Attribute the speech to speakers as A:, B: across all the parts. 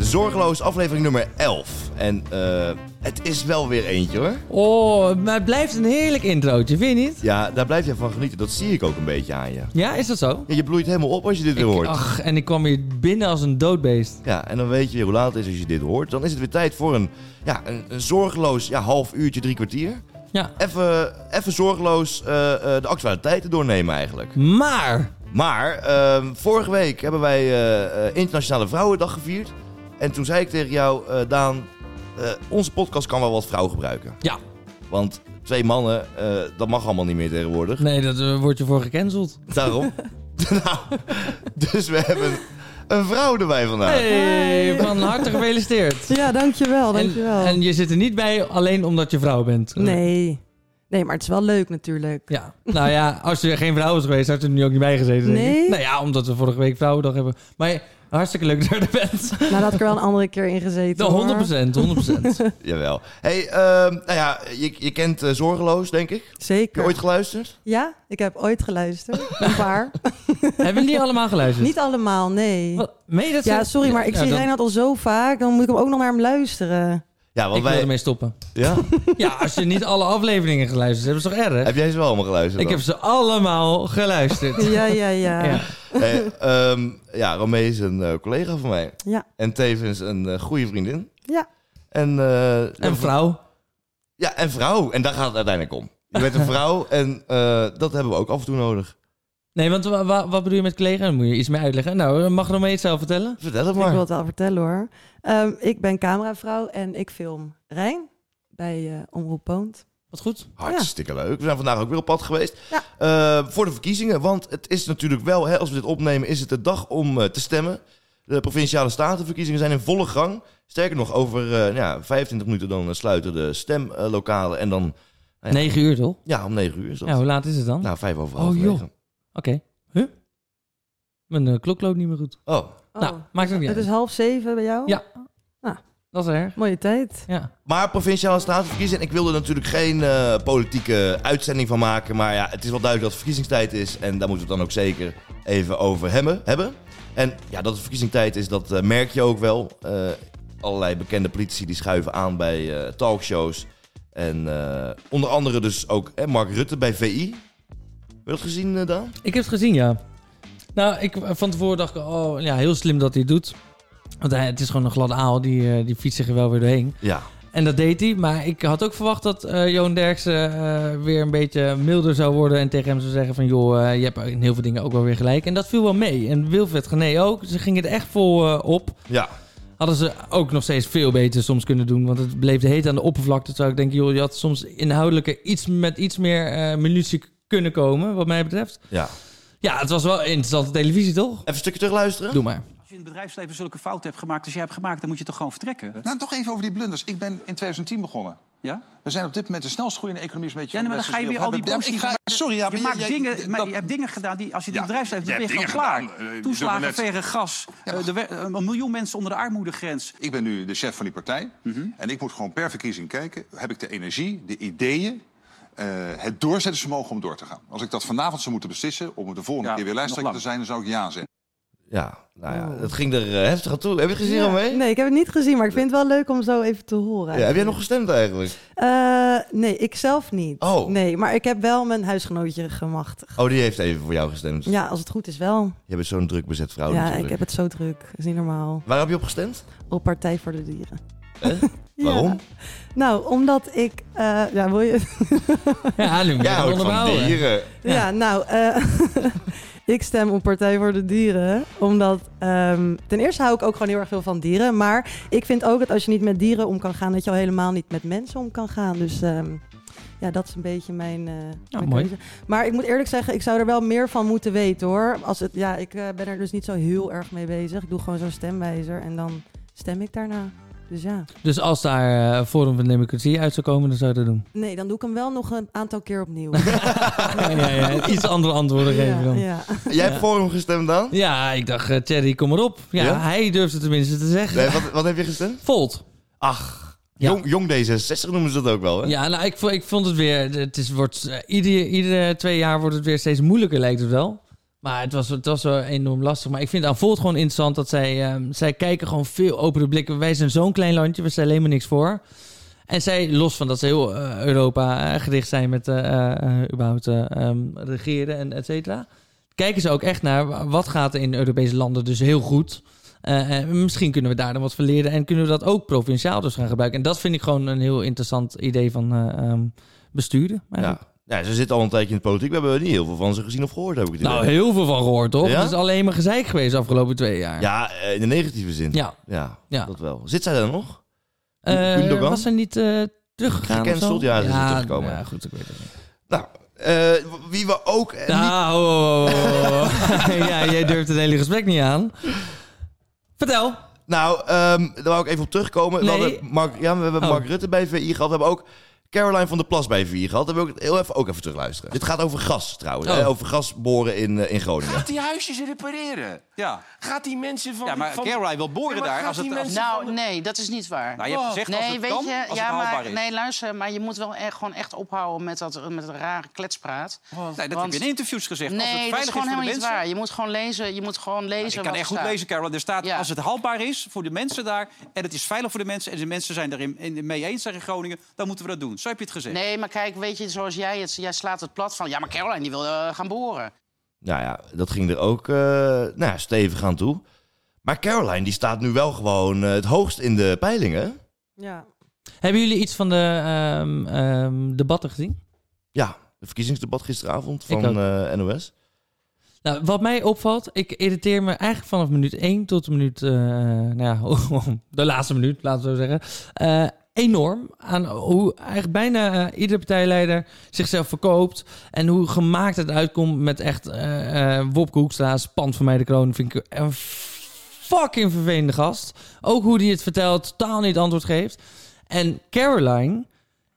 A: Smallows, aflevering nummer 11. En eh, het is wel weer eentje hoor.
B: Oh, maar het blijft een heerlijk introotje, vind je niet?
A: Ja, daar blijf je van genieten. Dat zie ik ook een beetje aan je.
B: Ja, is dat zo?
A: Ja, je bloeit helemaal op als je dit weer hoort.
B: Ach, en ik kwam hier binnen als een doodbeest.
A: Ja, en dan weet je weer hoe laat het is als je dit hoort. Dan is het weer tijd voor een, ja, een, een zorgeloos ja, half uurtje, drie kwartier.
B: Ja.
A: Even, even zorgeloos eh, eh, de actualiteiten doornemen eigenlijk.
B: Maar,
A: Maar eh, vorige week hebben wij eh, eh, Internationale Vrouwendag gevierd. En toen zei ik tegen jou, eh, Daan, eh, onze podcast kan wel wat vrouw gebruiken.
B: ja.
A: Want twee mannen, eh, dat mag allemaal niet meer tegenwoordig.
B: Nee, daar word je voor gecanceld.
A: Daarom. nou, dus we hebben een vrouw erbij vandaag.
B: Hey, van harte gefeliciteerd.
C: Ja, dankjewel, Oh, dankjewel.
B: En, en je zit er niet bij alleen omdat je vrouw bent. Eh,
C: Nee. nee, maar het is wel leuk natuurlijk.
B: Ja, nou ja, als er geen vrouw was geweest, had je er nu ook niet bij gezeten. denk ik.
C: Nee?
B: Nou ja, omdat we vorige week Vrouwendag hebben. Maar hartstikke leuk dat je er bent. Nou,
C: Nou, daar had ik er wel een andere keer in gezeten. hoor.
B: De 100%, 100%.
A: Jawel. hey, ehm, nou ja, je, je kent eh, Zorgeloos, denk ik. Heb je
C: Zeker.
A: ooit geluisterd?
C: Ja, ik heb ooit geluisterd. Een paar.
B: Hebben jullie allemaal geluisterd?
C: Niet allemaal, nee.
B: Wat? Meen je dat
C: Ja,
B: ze-
C: sorry, maar ik
B: Ja,
C: zie
B: dan-
C: Reinhard al zo vaak. Dan moet ik hem ook nog naar hem luisteren.
A: Ja, want
B: Ik wil
A: wij...
B: ermee stoppen.
A: Ja?
B: Ja, als je niet alle afleveringen geluisterd hebt, is toch erg?
A: Heb jij ze wel allemaal geluisterd?
B: Ik
A: dan?
B: heb ze allemaal geluisterd.
C: Ja, ja, ja.
B: Ja.
C: Ja,
A: Hey, ehm, ja, Romee is een eh, collega van mij.
C: ja.
A: En tevens een eh, goede vriendin.
C: Ja.
A: En, eh,
B: En vrouw.
A: Ja, en vrouw. En daar gaat het uiteindelijk om. Je bent een vrouw en eh, dat hebben we ook af en toe nodig.
B: Nee, want wa- wa- wat bedoel je met collega? Daar moet je iets mee uitleggen. Nou, mag Romee het zelf vertellen?
A: Vertel het
C: ik
A: maar.
C: wil het wel vertellen hoor. Ehm, ik ben cameravrouw en ik film Rijn bij eh, Omroep Poont.
B: Wat goed.
A: Hartstikke leuk. We zijn vandaag ook weer op pad geweest.
C: Ja.
A: Eh, voor de verkiezingen, want het is natuurlijk wel, hè, als we dit opnemen, is het de dag om eh, te stemmen. De provinciale statenverkiezingen zijn in volle gang. Sterker nog, over eh, nou ja, 25 minuten dan eh, sluiten de stemlokalen. En dan, Ja.
B: 9 uur toch?
A: ja, om 9 uur is dat.
B: Ja, hoe laat is het dan?
A: nou, vijf over
B: Oh,
A: half
B: joh.
A: negen.
B: Oké. Huh? Mijn eh, klok loopt niet meer goed.
A: Oh,
C: Oh,
B: Nou, maakt ook niet
C: het is
B: uit.
C: half zeven bij jou?
B: Ja. Dat is erg.
C: Mooie tijd.
B: Ja.
A: Maar provinciale statenverkiezingen. Ik wil er natuurlijk geen eh, politieke uitzending van maken. Maar ja, het is wel duidelijk dat het verkiezingstijd is. En daar moeten we het dan ook zeker even over hebben. hebben. En ja, dat het verkiezingstijd is, dat eh, merk je ook wel. Eh, allerlei bekende politici die schuiven aan bij eh, talkshows. En eh, onder andere dus ook eh, Mark Rutte bij VI. Heb je dat gezien, eh, Daan?
B: Ik heb het gezien, ja. Nou, ik, van tevoren dacht ik, oh ja, heel slim dat hij het doet. Want hij, het is gewoon een gladde aal, die, eh, die fietst zich er wel weer doorheen.
A: Ja.
B: En dat deed hij. Maar ik had ook verwacht dat eh, Johan Derksen eh, weer een beetje milder zou worden. En tegen hem zou zeggen van... joh, eh, je hebt in heel veel dingen ook wel weer gelijk. En dat viel wel mee. En Wilfred Gené ook. Ze gingen er echt vol eh, op.
A: Ja.
B: Hadden ze ook nog steeds veel beter soms kunnen doen. Want het bleef de heet aan de oppervlakte. Terwijl ik denk, joh, je had soms inhoudelijke iets met iets meer eh, minutie kunnen komen. Wat mij betreft.
A: ja.
B: Ja, het was wel interessante televisie, toch?
A: Even een stukje terug luisteren.
B: Doe maar.
D: Als je in het bedrijfsleven zulke fouten hebt gemaakt als jij hebt gemaakt, dan moet je toch gewoon vertrekken?
E: Nou, toch even over die blunders. Ik ben in 2010 begonnen.
D: Ja?
E: We zijn op dit moment de snelst groeiende economie. Is een beetje
D: Ja, nee, maar dan
E: van
D: ga je
E: de
D: weer
E: westerse
D: al die
E: wereld. Ja, maar ik
D: positieve-
E: ga- Sorry, ja,
D: je,
E: maar
D: maakt
E: jij-
D: dingen, maar
E: dat-
D: je hebt dingen gedaan die, als je in het
E: Ja,
D: bedrijfsleven
E: je
D: doet, ben je
E: hebt
D: gewoon
E: dingen
D: klaar.
E: gedaan, eh, je doet
D: Toeslagen,
E: maar net.
D: verre gas, eh, de we- eh, een miljoen mensen onder de armoedegrens.
E: Ik ben nu de chef van die partij.
D: Mhm.
E: En ik moet gewoon per verkiezing kijken. Heb ik de energie, de ideeën, eh, het doorzettingsvermogen om door te gaan? Als ik dat vanavond zou moeten beslissen om de volgende
D: Ja,
E: keer weer
D: nog
E: lijsttrekker te
D: lang.
E: zijn, dan zou ik ja zeggen.
A: Ja, nou ja, dat ging er eh, heftig aan toe. Heb je het gezien,
C: Oh. Ja.
A: Romee?
C: Nee, ik heb het niet gezien, maar ik vind het wel leuk om zo even te horen.
A: Ja, heb jij nog gestemd eigenlijk?
C: Eh, nee, ik zelf niet.
A: Oh.
C: Nee, maar ik heb wel mijn huisgenootje gemachtigd.
A: Oh, die heeft even voor jou gestemd.
C: Ja, als het goed is wel.
A: Je bent zo'n druk bezet vrouw
C: ja,
A: Oh, natuurlijk.
C: ik heb het zo druk. Dat is niet normaal.
A: Waar heb je op gestemd?
C: Op Partij voor de Dieren.
A: Hè?
C: Ja.
A: Waarom?
C: Nou, omdat ik... eh, ja, wil je...
B: Ja, nu moet je
A: Ja,
B: het
A: ook van
B: onderbouwen.
A: dieren.
B: Ja.
C: Ja, nou... eh, ik stem op Partij voor de Dieren. Omdat... ehm, ten eerste hou ik ook gewoon heel erg veel van dieren. Maar ik vind ook dat als je niet met dieren om kan gaan... dat je al helemaal niet met mensen om kan gaan. Dus... ehm, ja, dat is een beetje mijn, eh mijn
B: Nou, mooi.
C: keuze. Maar ik moet eerlijk zeggen, ik zou er wel meer van moeten weten hoor. Als het, ja, ik eh, ben er dus niet zo heel erg mee bezig. Ik doe gewoon zo'n stemwijzer en dan stem ik daarna. Dus ja.
B: Dus als daar eh, Forum van Democratie uit zou komen, dan zou je dat doen.
C: Nee, dan doe ik hem wel nog een aantal keer opnieuw.
B: ja, ja, ja. Iets andere antwoorden geven dan.
C: ja.
A: Jij hebt voor hem gestemd dan?
B: Ja, ik dacht, eh, Thierry, kom maar op. Ja,
A: Ja?
B: hij durfde tenminste te zeggen.
A: Nee, wat, wat heb je gestemd?
B: Volt.
A: Ach,
B: Ja.
A: jong, jong D66 noemen ze dat ook wel, hè?
B: Ja, nou, ik, vo- ik vond het weer... Het is, wordt, eh, iedere, iedere twee jaar wordt het weer steeds moeilijker, lijkt het wel. Maar het was, het was wel enorm lastig. Maar ik vind het aan Volt gewoon interessant dat zij... ehm, zij kijken gewoon veel opere blikken. Wij zijn zo'n klein landje, we stellen helemaal niks voor. En zij, los van dat ze heel eh, Europa eh, gericht zijn met eh, eh, überhaupt eh, ehm, regeren en et cetera... kijken ze ook echt naar wa- wat gaat er in Europese landen dus heel goed... Eh, eh, misschien kunnen we daar dan wat van leren en kunnen we dat ook provinciaal dus gaan gebruiken. En dat vind ik gewoon een heel interessant idee van eh, ehm, besturen.
A: Ja.
B: eigenlijk.
A: ja, ze zitten al een tijdje in de politiek. We hebben er niet heel veel van ze gezien of gehoord, heb ik het idee.
B: Nou, heel veel van gehoord, toch?
A: Ja?
B: Het is alleen maar gezeik geweest de afgelopen twee jaar.
A: Ja, eh, in de negatieve zin.
B: Ja.
A: Ja,
B: Ja.
A: dat wel. Zit zij daar nog?
B: Eh,
A: Gundogan?
B: was er niet eh, teruggegaan of zo?
A: Gecanceld? Ja, ze is teruggekomen.
B: Ja, goed, ik weet het niet.
A: Nou, eh, wie we ook... eh, niet-
B: Nou, oh, oh, oh. ja, jij durft het hele gesprek niet aan. Vertel.
A: Nou, ehm, daar wou ik even op terugkomen.
B: Nee.
A: We hadden Mark, ja, we hebben
B: Oh.
A: Mark Rutte bij VI gehad. We hebben ook Caroline van der Plas bij VI gehad. Daar wil ik heel even, ook even terugluisteren. Dit gaat over gas trouwens.
B: Oh.
A: hè, Over gasboren in, eh, in Groningen.
F: Gaat die huisjes repareren?
D: Ja.
F: Gaat die mensen van...
D: Ja, maar
F: van...
D: Caroline wil boren
F: Ja, maar
D: daar
F: gaat
D: als het-
F: die
D: als-
F: mensen
G: Nou,
F: van-
G: nee, dat is niet waar.
D: Nou, je hebt gezegd als
G: Oh. nee,
D: het
G: weet
D: kan,
G: je,
D: als
G: ja,
D: het haalbaar
G: maar,
D: is.
G: Nee, luister, maar je moet wel echt, gewoon echt ophouden met dat met dat rare kletspraat.
D: Nee, dat
G: Want-
D: heb je in interviews gezegd. als het
G: Nee, dat is
D: veilig
G: gewoon
D: is voor
G: helemaal
D: de
G: niet
D: mensen... Nou,
G: waar. Je moet gewoon lezen, je moet gewoon lezen
D: Ik kan
G: wat
D: echt
G: er
D: goed
G: staat.
D: lezen, Caroline. Er staat,
G: Ja.
D: als het haalbaar is voor de mensen daar... en het is veilig voor de mensen... en de mensen zijn erin in- mee eens zijn in Groningen... dan moeten we dat doen. Zo heb je het gezegd.
G: Nee, maar kijk, weet je, zoals jij het... Jij slaat het plat van... Ja, maar Caroline, die wil eh, gaan boren.
A: Nou ja, dat ging er ook eh, nou, ja, stevig aan toe. Maar Caroline die staat nu wel gewoon eh, het hoogst in de peilingen.
C: Ja.
B: Hebben jullie iets van de ehm, ehm, debatten gezien?
A: Ja, het verkiezingsdebat gisteravond
B: Ik
A: van
B: ook.
A: eh, NOS.
B: Nou, wat mij opvalt, ik irriteer me eigenlijk vanaf minuut 1 tot minuut, eh, nou ja, de laatste minuut, laten we zo zeggen, eh, enorm aan hoe eigenlijk bijna eh, iedere partijleider zichzelf verkoopt en hoe gemaakt het uitkomt met echt eh eh Wopke Hoekstra's pand van mij de kroon, vind ik een fucking vervelende gast. Ook hoe die het vertelt, totaal niet antwoord geeft. En Caroline,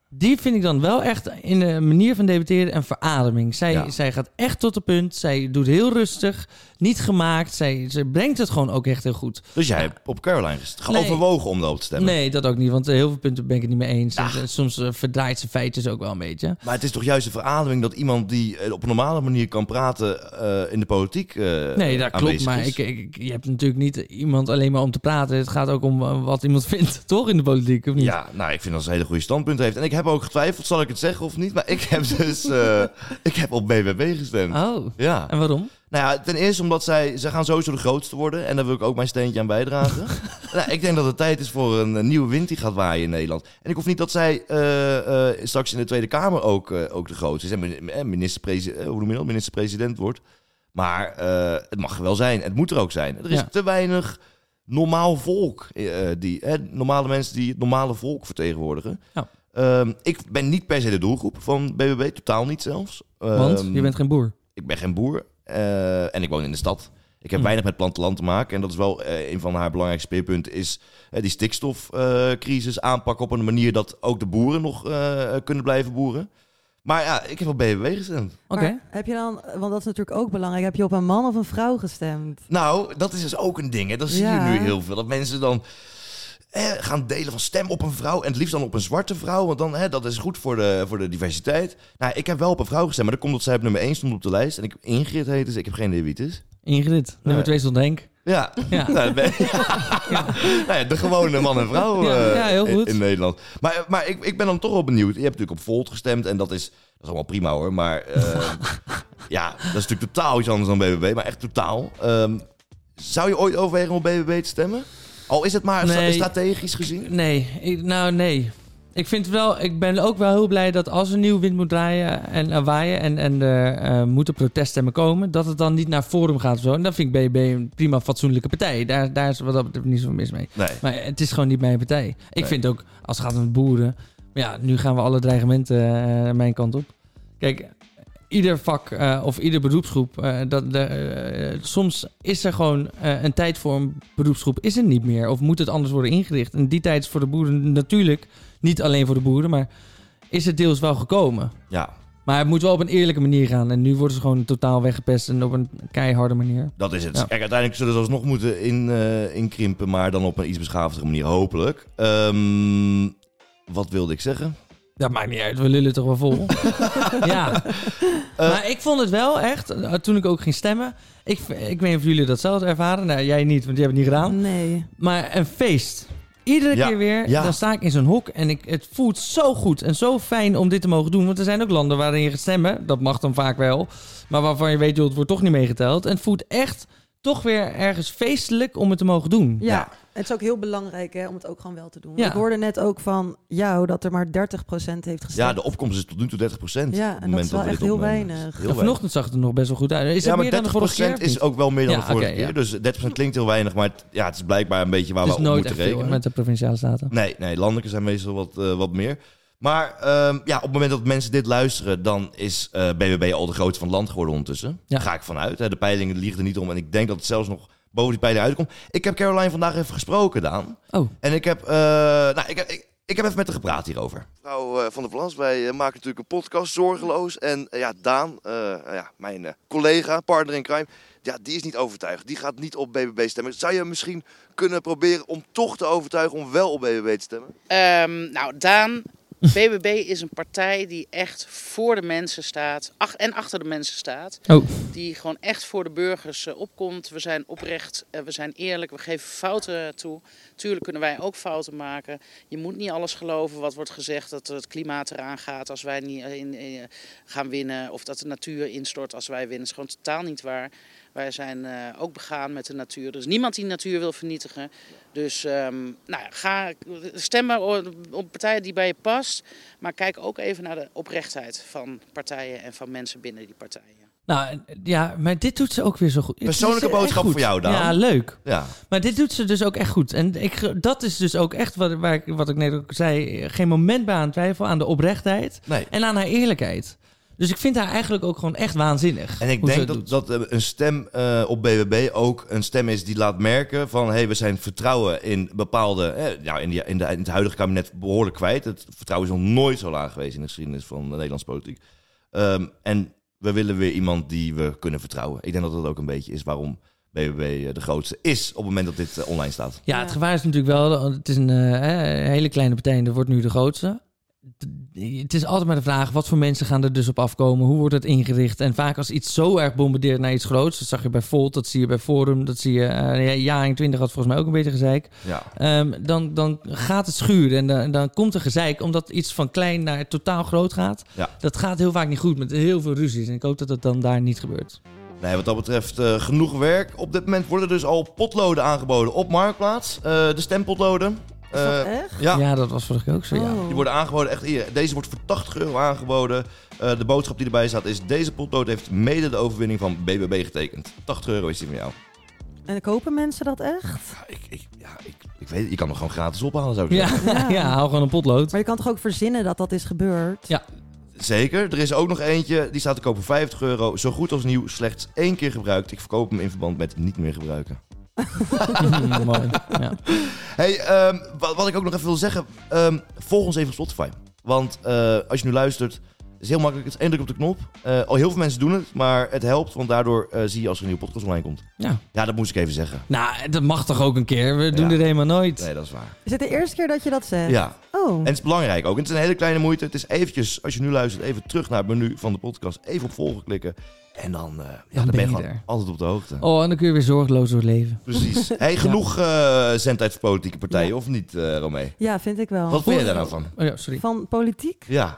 B: die vind ik dan wel echt in de manier van debatteren een verademing. Zij,
A: Ja.
B: zij gaat echt tot de punt. Zij doet heel rustig. Niet gemaakt. Zij, zij brengt het gewoon ook echt heel goed.
A: Dus jij hebt op Caroline gest-
B: Nee.
A: overwogen om daarop te stemmen. Ah.
B: Nee, dat ook niet. Want eh, heel veel punten ben ik het niet mee eens. En, eh, soms eh, verdraait ze feitjes ook wel een beetje.
A: Maar het is toch juist een verademing dat iemand die eh, op een normale manier kan praten eh, in de politiek. eh,
B: Nee, dat klopt.
A: aanwezig
B: Maar
A: is?
B: ik, ik- ik- je hebt natuurlijk niet iemand alleen maar om te praten. Het gaat ook om eh, wat iemand vindt, toch? In de politiek, of niet?
A: Ja, nou, ik vind dat ze een hele goede standpunt heeft. En ik heb ook getwijfeld, zal ik het zeggen of niet? Maar ik heb dus eh, ik heb op BBB gestemd.
B: Oh,
A: Ja.
B: en waarom?
A: Nou ja, ten eerste omdat zij, zij gaan sowieso de grootste worden. En daar wil ik ook mijn steentje aan bijdragen. nou, ik denk dat het tijd is voor een, eh, nieuwe wind die gaat waaien in Nederland. En ik hoef niet dat zij eh, eh, straks in de Tweede Kamer ook, eh, ook de grootste is. En min- eh, minister-presi- eh, hoe noem je dat? minister-president wordt. Maar eh, het mag er wel zijn. Het moet er ook zijn. Er is
B: Ja.
A: te weinig normaal volk. eh, eh, die, hè, normale mensen die het normale volk vertegenwoordigen.
B: Ja.
A: Ehm, ik ben niet per se de doelgroep van BBB. Totaal niet zelfs.
B: Want
A: Ehm,
B: je bent geen boer.
A: ik ben geen boer eh, en ik woon in de stad. Ik heb
B: Hmm.
A: weinig met plantenland te maken. En dat is wel eh, een van haar belangrijkste speerpunten. Is eh, die stikstofcrisis aanpakken op een manier dat ook de boeren nog eh, kunnen blijven boeren. Maar ja, ik heb op BBB gestemd.
B: Oké.
C: Maar Heb je dan, want dat is natuurlijk ook belangrijk, heb je op een man of een vrouw gestemd?
A: Nou, dat is dus ook een ding. Hè. Dat zie je
C: Ja.
A: nu heel veel. Dat mensen dan eh, gaan delen van stem op een vrouw. En het liefst dan op een zwarte vrouw. Want dan, hè, dat is goed voor de, voor de diversiteit. Nou, ik heb wel op een vrouw gestemd. Maar dat komt dat zij op nummer 1 stond op de lijst. En ik Ingrid heet dus. Ik heb geen idee wie het is.
B: Ingrid, nummer
A: Nee.
B: twee stond Henk.
A: Ja,
B: Ja.
A: Nou, dat ben- Nou ja, de gewone man en vrouw
B: Ja,
A: eh,
B: ja, heel
A: in-
B: goed.
A: in Nederland. Maar, maar ik, ik ben dan toch wel benieuwd. Je hebt natuurlijk op Volt gestemd en dat is, dat is allemaal prima hoor. Maar eh, ja, dat is natuurlijk totaal iets anders dan BBB, maar echt totaal. Ehm, zou je ooit overwegen om op BBB te stemmen? Al is het maar stra-
B: Nee.
A: strategisch gezien?
B: Nee, ik- nou nee. Ik, vind wel, ik ben ook wel heel blij dat als er nieuw wind moet draaien en eh, waaien en, en er eh, moeten proteststemmen komen, dat het dan niet naar Forum gaat of zo. En dan vind ik BB een prima fatsoenlijke partij. Daar, daar is wat dat betreft niet zo mis mee.
A: Nee.
B: Maar het is gewoon niet mijn partij. Ik
A: Nee.
B: vind ook, als het gaat om boeren, maar ja, nu gaan we alle dreigementen eh, mijn kant op. Kijk, ieder vak eh, of ieder beroepsgroep, eh, dat, de, eh, soms is er gewoon eh, een tijd voor een beroepsgroep, is er niet meer. Of moet het anders worden ingericht. En die tijd is voor de boeren natuurlijk, niet alleen voor de boeren, maar is het deels wel gekomen.
A: Ja,
B: Maar het moet wel op een eerlijke manier gaan. En nu worden ze gewoon totaal weggepest en op een keiharde manier.
A: dat is het.
B: Ja.
A: Kijk, uiteindelijk zullen ze alsnog moeten in, eh, inkrimpen, maar dan op een iets beschaafdere manier, hopelijk. Ehm, wat wilde ik zeggen?
B: Dat maakt niet uit, we lullen toch wel vol. ja.
A: Eh.
B: maar ik vond het wel echt, eh, toen ik ook ging stemmen. Ik, v- ik weet niet of jullie dat zelf ervaren. Nou, jij niet, want jij hebt het niet
A: Oh.
B: gedaan.
C: Nee.
B: Maar een feest. Iedere
A: Ja,
B: keer weer,
A: ja.
B: dan sta ik in zo'n hok en ik, het voelt zo goed en zo fijn om dit te mogen doen. Want er zijn ook landen waarin je gaat stemmen, dat mag dan vaak wel. Maar waarvan je weet, joh, het wordt toch niet meegeteld. En het voelt echt toch weer ergens feestelijk om het te mogen doen.
C: Ja. Het is ook heel belangrijk hè, om het ook gewoon wel te doen.
B: Ja.
C: Ik hoorde net ook van jou dat er maar 30% heeft gestemd.
A: Ja, de opkomst is tot nu toe 30 procent.
C: Ja, en dat is wel echt heel weinig.
B: En vanochtend zag het er nog best wel goed uit. Is
A: ja,
B: het
A: maar
B: meer dan de
A: 30
B: vorige keer? of niet?
A: is ook wel meer dan
B: Ja,
A: de vorige
B: oké,
A: keer.
B: ja.
A: Dus 30 klinkt heel weinig, maar het, ja, het is blijkbaar een beetje waar
B: Het is
A: we op
B: nooit
A: moeten
B: echt veel
A: rekenen.
B: met de provinciale staten.
A: Nee, nee, landelijke zijn meestal wat, eh, wat meer. Maar ehm, ja, op het moment dat mensen dit luisteren, dan is eh, BBB al de grootste van het land geworden ondertussen.
B: Ja.
A: Daar ga ik vanuit. Hè. De peilingen liegen er niet om. En ik denk dat het zelfs nog boven die peiling uitkomt. Ik heb Caroline vandaag even gesproken, Daan.
B: Oh,
A: En ik heb, eh, nou, ik, heb- ik, ik heb even met haar gepraat hierover. Mevrouw eh, Van der Plas, wij eh, maken natuurlijk een podcast, Zorgeloos. En eh, ja, Daan, eh, ja, mijn eh, collega, partner in crime, ja, die is niet overtuigd. Die gaat niet op BBB stemmen. Zou je hem misschien kunnen proberen om toch te overtuigen om wel op BBB te stemmen?
G: Ehm, nou, Daan, BBB is een partij die echt voor de mensen staat. ach- en achter de mensen staat.
B: oh.
G: Die gewoon echt voor de burgers eh, opkomt. We zijn oprecht, eh, we zijn eerlijk, we geven fouten toe. Tuurlijk kunnen wij ook fouten maken. Je moet niet alles geloven wat wordt gezegd. Dat het klimaat eraan gaat als wij niet eh, in, eh, gaan winnen. Of dat de natuur instort als wij winnen. Dat is gewoon totaal niet waar. Wij zijn eh, ook begaan met de natuur. Er is niemand die de natuur wil vernietigen. Dus ehm, nou, ja, ga stemmen op partijen die bij je past. Maar kijk ook even naar de oprechtheid van partijen en van mensen binnen die partijen.
B: Nou, ja, maar dit doet ze ook weer zo goed. Het
A: Persoonlijke
B: is echt
A: boodschap
B: goed.
A: voor jou, Daan.
B: Ja, leuk.
A: Ja,
B: Maar dit doet ze dus ook echt goed. En ik, ge- dat is dus ook echt wat, waar ik, wat ik net ook zei. Geen moment bij aan twijfel aan de oprechtheid
A: nee.
B: en aan haar eerlijkheid. Dus ik vind haar eigenlijk ook gewoon echt waanzinnig.
A: En ik
B: hoe ze
A: denk
B: het doet.
A: dat, dat eh, een stem eh, op BBB ook een stem is die laat merken van... hé, hey, we zijn vertrouwen in bepaalde... eh, nou, in, die, in, de, in het huidige kabinet behoorlijk kwijt. Het vertrouwen is nog nooit zo laag geweest in de geschiedenis van de Nederlandse politiek. Ehm, en we willen weer iemand die we kunnen vertrouwen. Ik denk dat dat ook een beetje is waarom BBB eh, de grootste is... op het moment dat dit eh, online staat.
B: Ja, het gevaar is natuurlijk wel... Het is een eh, hè, hele kleine partij en dat wordt nu de grootste. Het- Het is altijd maar de vraag, wat voor mensen gaan er dus op afkomen? Hoe wordt het ingericht? En vaak als iets zo erg bombardeert naar iets groots... dat zag je bij Volt, dat zie je bij Forum, dat zie je... eh ja, in 20 had volgens mij ook een beetje gezeik.
A: Ja.
B: Ehm, dan, dan gaat het schuren en dan, dan komt er gezeik... omdat iets van klein naar totaal groot gaat.
A: Ja.
B: Dat gaat heel vaak niet goed, met heel veel ruzies. En ik hoop dat dat dan daar niet gebeurt.
A: Nee, wat dat betreft eh, genoeg werk. Op dit moment worden dus al potloden aangeboden op Marktplaats. Eh, de stempotloden.
C: Is dat
A: Eh,
C: echt?
A: ja,
B: Ja, dat was vorige keer ook zo, ja.
C: Oh.
A: Die worden aangeboden echt hier. Deze wordt voor 80 euro aangeboden. Eh, de boodschap die erbij staat is: deze potlood heeft mede de overwinning van BBB getekend. 80 euro is die van jou.
C: En kopen mensen dat echt?
A: Ja, ik, ik, ja, ik, ik weet, het. je kan hem gewoon gratis ophalen, zou ik
B: Ja,
A: zeggen.
B: ja. haal gewoon een potlood.
C: Maar je kan toch ook verzinnen dat dat is gebeurd?
A: Zeker. Er is ook nog eentje. Die staat te koop voor 50 euro. Zo goed als nieuw. Slechts één keer gebruikt. Ik verkoop hem in verband met niet meer gebruiken.
B: Mooi. Ja.
A: Hey, ehm, wat, wat ik ook nog even wil zeggen. ehm, volg ons even op Spotify. Want eh, als je nu luistert, is het heel makkelijk. Het is één druk op de knop. Eh, al heel veel mensen doen het, maar het helpt. Want daardoor eh, zie je als er een nieuwe podcast online komt.
B: ja.
A: Ja, dat moest ik even zeggen.
B: Nou, dat mag toch ook een keer? We doen
A: Ja.
B: dit helemaal nooit.
A: Nee, dat is waar.
C: Is het de eerste keer dat je dat zegt?
A: Ja.
C: Oh.
A: En het is belangrijk ook. En het is een hele kleine moeite. Het is eventjes, als je nu luistert, even terug naar het menu van de podcast. Even op volgen klikken. En dan, eh, ja, dan, ben je
B: je
A: gewoon
B: er.
A: altijd op de hoogte.
B: Oh, en dan kun je weer zorgeloos door het leven.
A: Precies. Hey, genoeg eh zendtijd voor politieke partijen, of niet, eh Romee?
C: Ja, vind ik wel.
A: Wat vind je daar nou van?
B: Oh ja, sorry.
C: Van politiek?
A: Ja,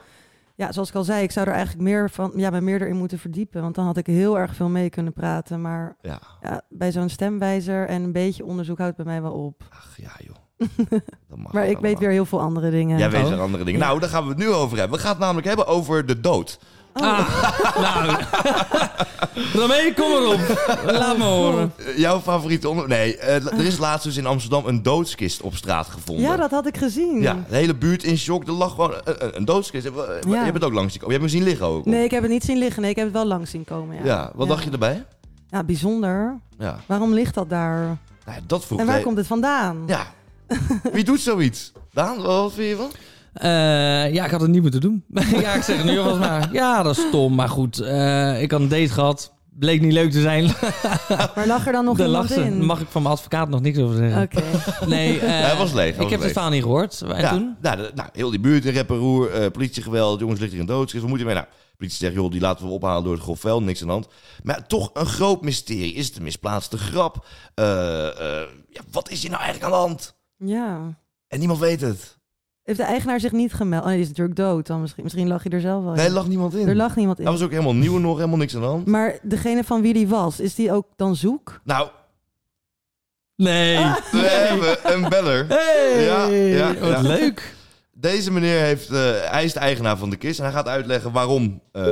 C: Ja, zoals ik al zei, ik zou er eigenlijk meer van, ja, me meer erin moeten verdiepen. Want dan had ik heel erg veel mee kunnen praten. Maar
A: ja.
C: ja, bij zo'n stemwijzer en een beetje onderzoek houdt bij mij wel op.
A: Ach, ja joh. Dat mag
C: Maar ik
A: allemaal.
C: weet weer heel veel andere dingen.
A: Jij weet
B: Oh.
A: weer andere dingen. Nou, daar gaan we het nu over hebben. We gaan het namelijk hebben over de dood. Oh.
B: Ah, nou. Romee, kom erop. Laat me horen.
A: Eh, jouw favoriete onder... Nee, eh, la- er is laatst dus in Amsterdam een doodskist op straat gevonden.
C: Ah. ja, dat had ik gezien.
A: Ja, de hele buurt in shock. Er lag gewoon een, een- een doodskist. Eh, wa- eh,
C: Ja.
A: Je hebt het ook langs gekomen. Je hebt hem zien liggen ook.
C: Nee, ik heb het niet zien liggen. Nee, ik heb het wel langs zien komen. Ja,
A: Ja, wat dacht je erbij?
C: Ja, bijzonder.
A: Ja,
C: Waarom ligt dat daar?
A: nou, ja, dat vroeg
C: En waar
A: hij-
C: komt het vandaan?
A: Ja, wie doet zoiets? Daan, wat vind je van?
B: Eh, ja, ik had het niet moeten doen. ja, ik zeg het nu alvast maar. Ja, dat is stom. Maar goed, eh, ik had een date gehad. bleek niet leuk te zijn.
C: Maar lag er dan nog
B: Daar
C: iemand
B: lag ze.
C: in?
B: Daar mag ik van mijn advocaat nog niks over zeggen.
C: Oké.
B: Nee, eh,
A: hij was leeg, hij
B: ik
A: was
B: heb het
A: leeg.
B: verhaal niet gehoord. En
A: ja,
B: toen?
A: Nou, de- nou, heel die buurt in rep en roer, eh, politiegeweld, jongens ligt hier een doodschrift, we moeten mee. Nou, de politie zegt, joh, die laten we ophalen door het grof vuil, niks aan de hand. Maar toch een groot mysterie. Is het een misplaatste grap? Eh, eh, ja, wat is hier nou eigenlijk aan de hand?
C: Ja.
A: En niemand weet het.
C: Heeft de eigenaar zich niet gemeld? Oh, die is natuurlijk dood dan misschien. Misschien lag hij Oh, er zelf wel in.
A: Nee, er lag niemand in.
C: Er lag niemand in.
A: Hij was ook helemaal nieuw nog, helemaal niks aan de hand.
C: Maar degene van wie die was, is die ook dan zoek?
A: Nou,
B: Nee.
A: we hebben een beller.
B: Hey,
A: Ah. Ja, ja,
B: wat
A: ja.
B: leuk.
A: Deze meneer heeft, eh, hij is de eigenaar van de kist en hij gaat uitleggen waarom eh,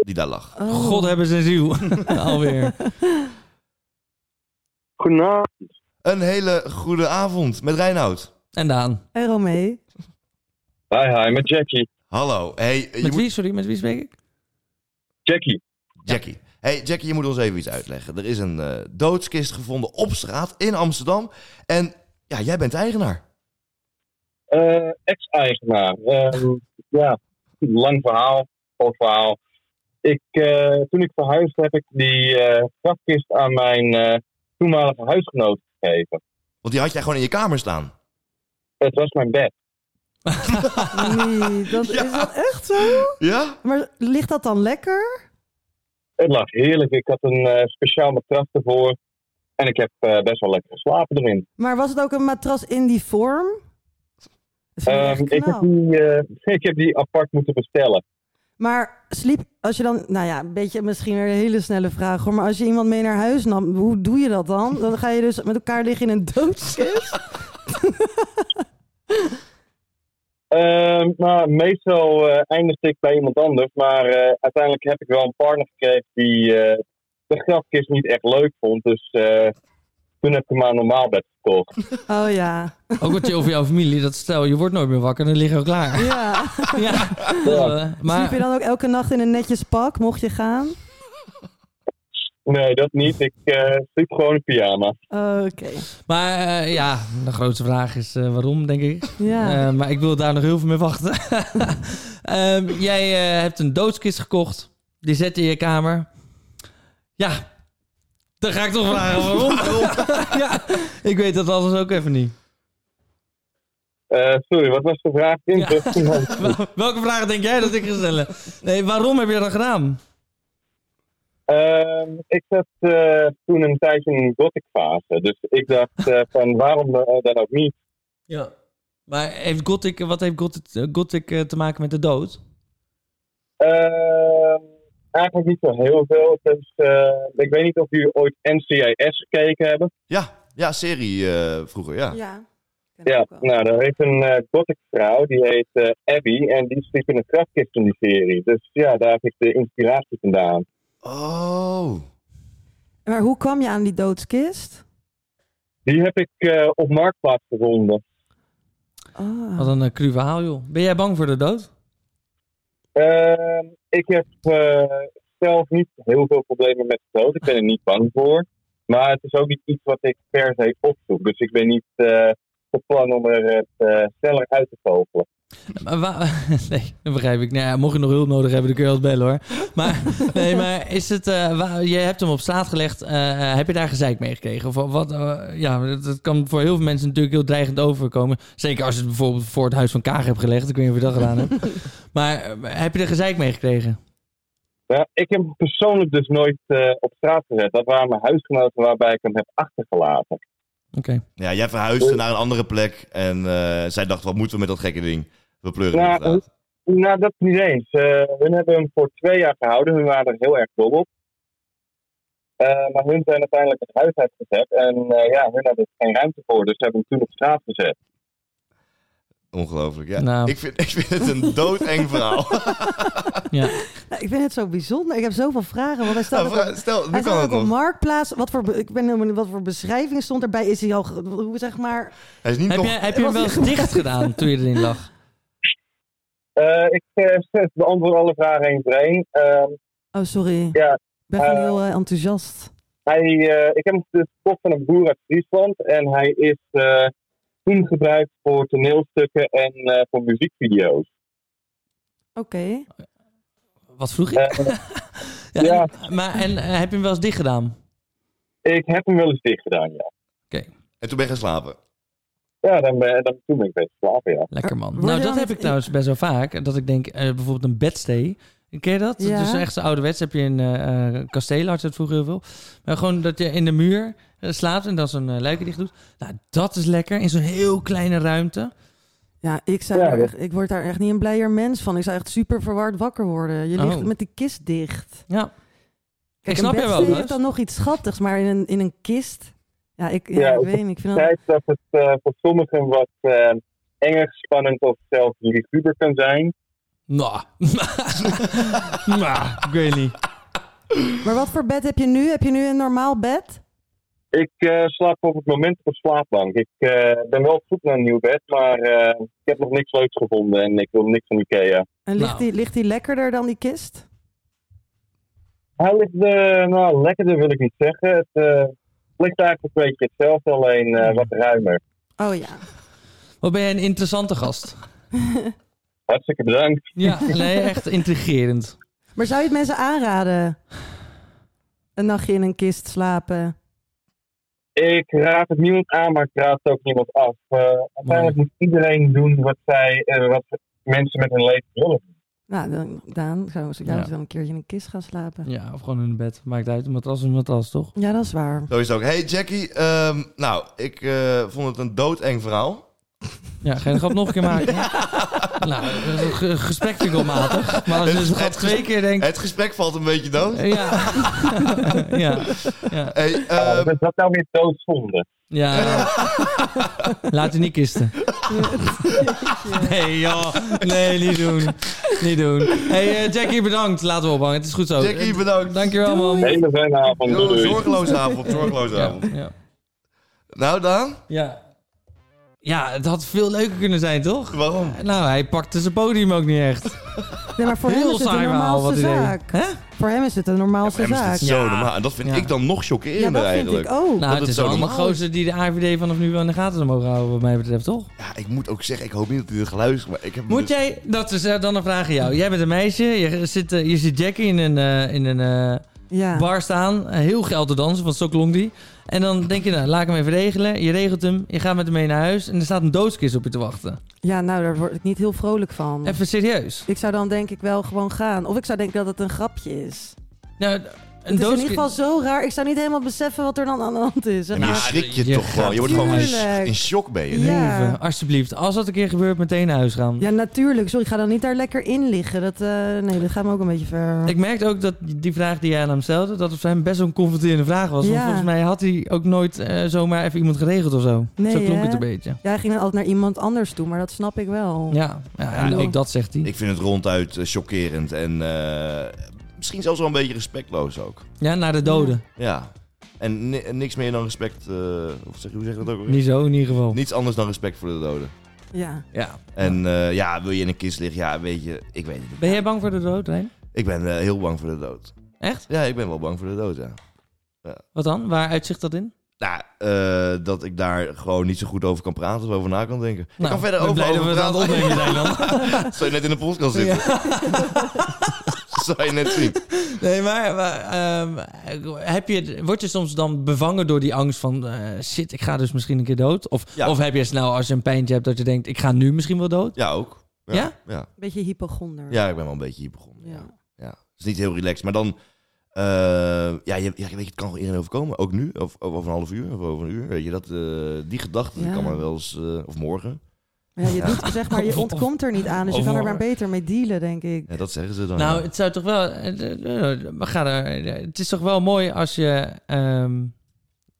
A: die daar lag.
C: Oh.
B: God hebben zijn ziel. Alweer.
H: Goedenavond.
A: Een hele goede avond met Reinoud.
B: En Daan.
C: En Romee.
H: Hi, hi, met Jackie.
A: Hallo. Hey, je
B: Met
A: moet-
B: wie? Sorry, met wie spreek ik?
H: Jackie.
A: Jackie. Hey Jackie, je moet ons even iets uitleggen. Er is een eh, doodskist gevonden op straat in Amsterdam. En ja, jij bent de eigenaar.
H: Eh, Ex-eigenaar. Ehm, ja, lang verhaal, kort verhaal. Ik, eh, toen ik verhuisde heb ik die eh grafkist aan mijn eh, toenmalige huisgenoot gegeven.
A: Want die had jij gewoon in je kamer staan.
H: Het was mijn bed.
C: Nee, dat,
A: Ja.
C: Is dat echt zo?
A: Ja?
C: Maar ligt dat dan lekker?
H: Het lag heerlijk. Ik had een eh, speciaal matras ervoor. En ik heb eh, best wel lekker geslapen erin.
C: Maar was het ook een matras in die vorm? Dat vind ik echt
H: Ehm, ik, heb
C: knap.
H: die, eh, ik heb die apart moeten bestellen.
C: Maar sliep, als je dan, nou ja, een beetje misschien weer een hele snelle vraag hoor. Maar als je iemand mee naar huis nam, hoe doe je dat dan? Dan ga je dus met elkaar liggen in een doodskist.
H: Ehm, nou, meestal eh eindigde ik bij iemand anders, maar eh, uiteindelijk heb ik wel een partner gekregen die eh, de grafkist niet echt leuk vond. Dus eh, toen heb ik hem aan een normaal bed verkocht.
C: Oh ja.
B: Ook wat je over jouw familie. Dat stel, je wordt nooit meer wakker. Dan liggen we klaar.
C: ja.
B: Ja.
H: Ja.
B: Eh,
C: Sliep
B: maar
C: je dan ook elke nacht in een netjes pak, mocht je gaan?
H: Nee, dat niet. Ik eh sliep gewoon in pyjama.
C: Oh, Oké.
B: maar eh, ja, de grootste vraag is eh, waarom, denk ik.
C: Ja.
B: Eh, maar ik wil daar nog heel veel mee wachten. Ehm, jij eh, hebt een doodskist gekocht. Die zet je in je kamer. Ja, dan ga ik toch vragen waarom. ja, ik weet dat alles ook even niet.
H: Eh, sorry, wat was de vraag?
B: Ja.
H: Interest-
B: Wel- Welke vragen denk jij dat ik ga stellen? Nee, waarom heb je dat gedaan?
H: Ehm, ik zat eh, toen een tijdje in een gothic fase. Dus ik dacht eh, van waarom eh, dan ook niet?
B: Ja. Maar heeft Gothic, wat heeft Gothic, eh, Gothic eh, te maken met de dood?
H: Ehm, eigenlijk niet zo heel veel. Het is, eh, ik weet niet of jullie ooit NCIS gekeken hebben.
A: Ja, ja serie eh, vroeger, ja.
C: Ja.
H: Ja, nou, daar heeft een eh gothic vrouw, die heet eh, Abby, en die sliep in een krachtkist in die serie. Dus ja, daar heb ik de inspiratie vandaan.
A: Oh.
C: Maar hoe kwam je aan die doodskist?
H: Die heb ik eh, op Marktplaats gevonden.
C: Oh.
B: Wat een eh, cru verhaal, joh. Ben jij bang voor de dood?
H: Ehm, ik heb eh, zelf niet heel veel problemen met de dood. Ik ben er niet bang voor. Maar het is ook niet iets wat ik per se opzoek. Dus ik ben niet eh van plan om er het eh, sneller uit te vogelen.
B: Maar wa- nee, dat begrijp ik. Nou ja, mocht je nog hulp nodig hebben, dan kun je altijd bellen hoor. Maar, nee, maar is het, eh, wa- je hebt hem op straat gelegd. eh, eh, heb je daar gezeik mee gekregen? Of wat, eh, ja, dat, dat kan voor heel veel mensen natuurlijk heel dreigend overkomen. Zeker als je het bijvoorbeeld voor het huis van Kaag hebt gelegd. Ik weet niet of je dat gedaan hebt. Maar eh, heb je er gezeik mee gekregen?
H: Ja, Nou, ik heb hem persoonlijk dus nooit eh, op straat gezet. Dat waren mijn huisgenoten waarbij ik hem heb achtergelaten.
B: Oké.
A: Ja, jij verhuisde naar een andere plek. En eh, zij dacht, wat moeten we met dat gekke ding? We pleuren
H: Ja,
A: het eruit.
H: Nou, dat niet eens. Eh, hun hebben hem voor twee jaar gehouden. Hun waren er heel erg dol op. Eh, maar hun zijn uiteindelijk het huis uitgezet. En eh, ja, hun hadden er geen ruimte voor. Dus ze hebben hem toen op straat gezet.
A: Ongelooflijk, ja.
B: Nou.
A: Ik, vind, ik vind het een doodeng verhaal.
B: Ja.
C: Nou, ik vind het zo bijzonder. Ik heb zoveel vragen. Want hij staat
A: Nou,
C: ook op-
A: vra- stel, nu
C: Hij
A: kan
C: staat
A: het
C: ook op
A: nog.
C: Marktplaats. Wat voor, be- ik ben heel benieuwd, wat voor beschrijving stond erbij? Is hij al, ge- hoe zeg maar...
A: Hij is niet
B: Heb,
A: nog...
B: je, heb je hem wel eens dicht gedaan toen je erin lag?
H: Eh, ik eh, beantwoord alle vragen één voor één. Ehm,
C: Oh, sorry.
H: Ja,
C: Ik ben gewoon
H: eh,
C: heel eh, enthousiast.
H: Hij, eh, ik heb hem dus gekocht van een boer uit Friesland. En hij is eh, toen gebruikt voor toneelstukken en eh, voor muziekvideo's.
C: Oké.
B: Wat vroeg je?
H: Eh,
B: Ja,
H: Ja.
B: en- Maar en eh, heb je hem wel eens dicht gedaan?
H: Ik heb hem wel eens dicht gedaan, ja.
A: En toen ben ik gaan slapen.
H: Ja, dan ben, dan, toen ben ik best slapen, ja.
B: Lekker man.
C: Eh, Word
B: Nou,
C: je
B: dat
C: dan
B: heb
C: met-
B: ik trouwens best wel vaak. Dat ik denk, eh, bijvoorbeeld een bedstee. Ken je dat?
C: Ja.
B: Dat is echt zo ouderwets. Heb je in eh eh, kastelen, had je dat vroeger heel veel. Maar gewoon dat je in de muur eh, slaapt en dan zo'n eh, luikje dicht doet. Nou, dat is lekker. In zo'n heel kleine ruimte.
C: Ja, ik, zou
H: Ja,
C: daar
H: dat-
C: echt, ik word daar echt niet een blijer mens van. Ik zou echt super verward wakker worden. Je ligt
B: Oh.
C: met die kist dicht.
B: Ja. ik
C: Kijk,
B: snap je
C: een
B: wel.
C: bedstee
B: Bas.
C: heeft dan nog iets schattigs, maar in een, in een kist... Ja, ik, ja,
H: Ja,
C: ik
H: op
C: weet niet. Ik vind dat...
H: tijd dat het eh, voor sommigen wat eh, enger, spannend of zelfs luguber kan zijn.
B: Nou, Nou, ik weet niet.
C: Maar wat voor bed heb je nu? Heb je nu een normaal bed?
H: Ik eh, slaap op het moment op een slaapbank. Ik eh, ben wel op zoek naar een nieuw bed, maar eh, ik heb nog niks leuks gevonden en ik wil niks van Ikea.
C: En ligt,
B: Nou.
C: die, ligt die lekkerder dan die kist?
H: Hij ligt, eh, nou, lekkerder wil ik niet zeggen. Het eh, ligt eigenlijk een beetje hetzelfde, alleen eh, wat ruimer.
C: Oh ja.
B: Wat ben jij een interessante gast?
H: Hartstikke bedankt.
B: Ja, nee, echt intrigerend.
C: Maar zou je het mensen aanraden? Een nachtje in een kist slapen.
H: Ik raad het niemand aan, maar ik raad het ook niemand af. Eh uiteindelijk moet iedereen doen wat, zij, eh, wat mensen met hun leven willen.
C: Nou, dan, Daan, zou zou
B: Ja.
C: jij dan een keertje in een kist gaan slapen?
B: Ja, of gewoon in een bed. Maakt uit, een matras is een matras, toch?
C: Ja, dat is waar.
A: Zo is het ook. Hey Jackie, ehm, nou, ik eh, vond het een doodeng verhaal.
B: Ja, ga je de grap nog een keer maken? Nou, dat is een ge- gesprek vind ik wel matig. Maar als je
A: Het-
B: dus de grap
A: het
B: twee
A: gesprek-
B: keer denkt...
A: Het gesprek valt een beetje dood.
B: eh, Ja. ja. Ja.
A: Hey,
H: Ah,
A: ehm,
H: wat is dat nou weer doodzonde?
B: Ja. Laat je niet kisten. Nee, joh. Nee, niet doen. Niet doen. hey, eh, Jackie, bedankt. Laten we ophangen. Het is goed zo.
A: Jackie, bedankt.
B: Dankjewel, man.
H: Een hele fijne avond.
A: Yo,
H: doei.
A: zorgeloze avond, zorgeloze
B: Ja,
A: avond.
B: ja.
A: Nou Daan,
B: ja. Ja, het had veel leuker kunnen zijn, toch?
A: waarom?
B: Nou, hij pakte zijn podium ook niet echt.
C: Nee, maar voor hem
B: Heel
C: is het de
B: saai verhaal, wat
C: normaalste
B: idee.
C: zaak.
B: Hè?
C: Voor hem is het de normaalste
A: Hem is
C: zaak.
A: dit zo
B: Ja.
A: normaal. En dat vind
B: Ja.
A: ik dan nog
C: ja,
A: chockerender
C: dat vind
A: eigenlijk.
C: ik ook.
B: Nou,
A: Dat
B: het
A: het
B: is
A: zo
B: wel een
A: normaal
B: gozer die de AVD vanaf nu wel in de gaten zou mogen houden, wat mij betreft, toch?
A: Ja, ik moet ook zeggen, ik hoop niet dat hij dit gaat luisteren. Maar ik heb hem
B: Moet
A: dus-
B: jij, dat is eh, dan een vraag aan jou. Jij bent een meisje, je zit, eh, je zit Jackie in een, eh, in een eh,
C: Ja.
B: bar staan, eh, heel geil te dansen, want zo klonk die. En dan denk je, nou, laat ik hem even regelen. Je regelt hem, je gaat met hem mee naar huis en er staat een doodskist op je te wachten.
C: ja, nou, daar word ik niet heel vrolijk van.
B: Even serieus.
C: Ik zou dan denk ik wel gewoon gaan. Of ik zou denken dat het een grapje is.
B: Nou, een
C: het is in
B: doodskist...
C: ieder geval zo raar. Ik zou niet helemaal beseffen wat er dan aan de hand is.
A: Ja, maar je
C: zeg
B: Nou.
C: maar.
A: schrik je,
B: je
A: toch
B: gaat-
A: gewoon. Je wordt gewoon in,
C: Tuurlijk.
A: in shock ben je.
C: Ja.
B: Even, alsjeblieft, als dat een keer gebeurt, meteen naar huis gaan.
C: Ja, natuurlijk. Sorry, ik ga dan niet daar lekker in liggen. Dat, eh, nee, dat gaat me ook een beetje ver.
B: Ik merkte ook dat die vraag die jij aan hem stelde, dat het voor hem best wel een confronterende vraag was. Want
C: Ja.
B: volgens mij had hij ook nooit eh, zomaar even iemand geregeld of zo.
C: Nee,
B: zo klonk
C: hè?
B: het een beetje.
C: Jij ging dan altijd naar iemand anders toe, maar dat snap ik wel.
B: Ja, ja en
A: Ja.
B: ook dat zegt hij.
A: Ik vind het ronduit eh, chockerend en eh, misschien zelfs wel een beetje respectloos ook.
B: Ja, naar de doden.
A: Ja. En ni- en niks meer dan respect, eh, of zeg, hoe zeg je dat ook alweer?
B: Niet zo in ieder geval.
A: Niets anders dan respect voor de doden.
C: Ja.
B: Ja.
A: En eh, ja, wil je in een kist liggen? Ja, weet je, ik weet het niet.
B: Ben jij bang voor de dood, Rijn?
A: Ik ben eh, heel bang voor de dood.
B: Echt?
A: Ja, ik ben wel bang voor de dood, ja.
B: Wat dan? Waar uitzicht dat in?
A: Nou, eh, dat ik daar gewoon niet zo goed over kan praten of over na kan denken. ik kan verder
B: Nou, ik ben
A: over,
B: blij dat
A: over
B: we het aan het
A: praten.
B: opnemen zijn dan.
A: Zou je net in de post kan zitten. Zou je net zien.
B: Nee, maar, maar, ehm, heb je, word je soms dan bevangen door die angst van... eh, shit, ik ga dus misschien een keer dood? Of,
A: Ja.
B: of heb je snel als je een pijntje hebt dat je denkt... ik ga nu misschien wel dood?
A: Ja, ook.
B: Ja?
A: Ja,
C: Beetje hypochonder.
A: ja ik ben wel een beetje hier begonnen. Ja.
C: Ja.
A: Ja. Het is niet heel relaxed. Maar dan... eh, ja, je, ja, weet je, het kan gewoon iedereen overkomen. Ook nu, of, of over een half uur, of over een uur. Weet je, dat, eh, die gedachte die
C: Ja.
A: kan maar wel eens... eh, of morgen.
C: Ja, je doet zeg maar, je
B: Of-
C: ontkomt er niet aan. Dus je
B: of-
C: kan er maar beter mee dealen, denk ik.
A: Ja, dat zeggen ze dan.
B: Nou,
A: ja.
B: het zou toch wel. eh, eh, eh, We gaan er. eh, Het is toch wel mooi als je ehm,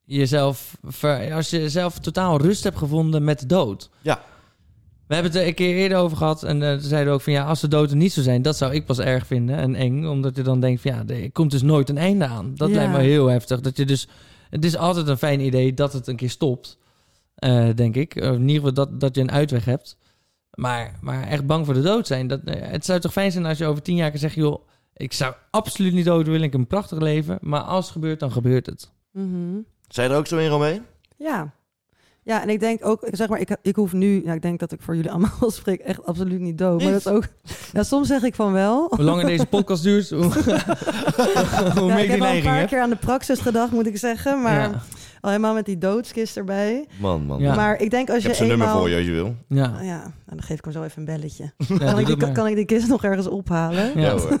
B: jezelf. ver- als je zelf totaal rust hebt gevonden met de dood.
A: Ja.
B: We hebben het er een keer eerder over gehad. En eh, toen zeiden we ook van ja, als de dood er niet zou zijn, dat zou ik pas erg vinden en eng. Omdat je dan denkt van ja, er komt dus nooit een einde aan. Dat
C: Ja.
B: lijkt me heel heftig. Dat je dus. Het is altijd een fijn idee dat het een keer stopt. eh, denk ik. Of in ieder geval dat, dat je een uitweg hebt. Maar, maar echt bang voor de dood zijn. Dat, eh, het zou toch fijn zijn als je over tien jaar kan zeggen... joh, ik zou absoluut niet dood willen. Ik heb een prachtig leven. Maar als het gebeurt, dan gebeurt het.
C: Mhm.
A: Zijn je er ook zo in, Romein?
C: Ja. Ja, en ik denk ook, ik zeg maar, ik, ik hoef nu, nou, ik denk dat ik voor jullie allemaal wel spreek, echt absoluut niet dood. Maar
B: Niet?
C: dat is ook, ja, soms zeg ik van wel.
B: Hoe langer deze podcast duurt, hoe, hoe
C: Ja,
B: meer
C: ik
B: ik die
C: heb al een
B: neiging
C: paar
B: heb.
C: keer aan de praxis gedacht, moet ik zeggen. Maar
B: Ja.
C: al helemaal met die doodskist erbij.
A: Man, man.
B: Ja.
A: man.
C: Maar ik denk als
A: Ik heb
C: je
A: zijn nummer
C: eenmaal...
A: voor je als je wil.
B: Ja,
C: Ja, nou, dan geef ik hem zo even een belletje.
B: ja,
C: kan,
B: doe
C: ik
B: dat
C: die,
B: maar.
C: kan ik die kist nog ergens ophalen?
A: Ja,
B: Ja.
A: hoor.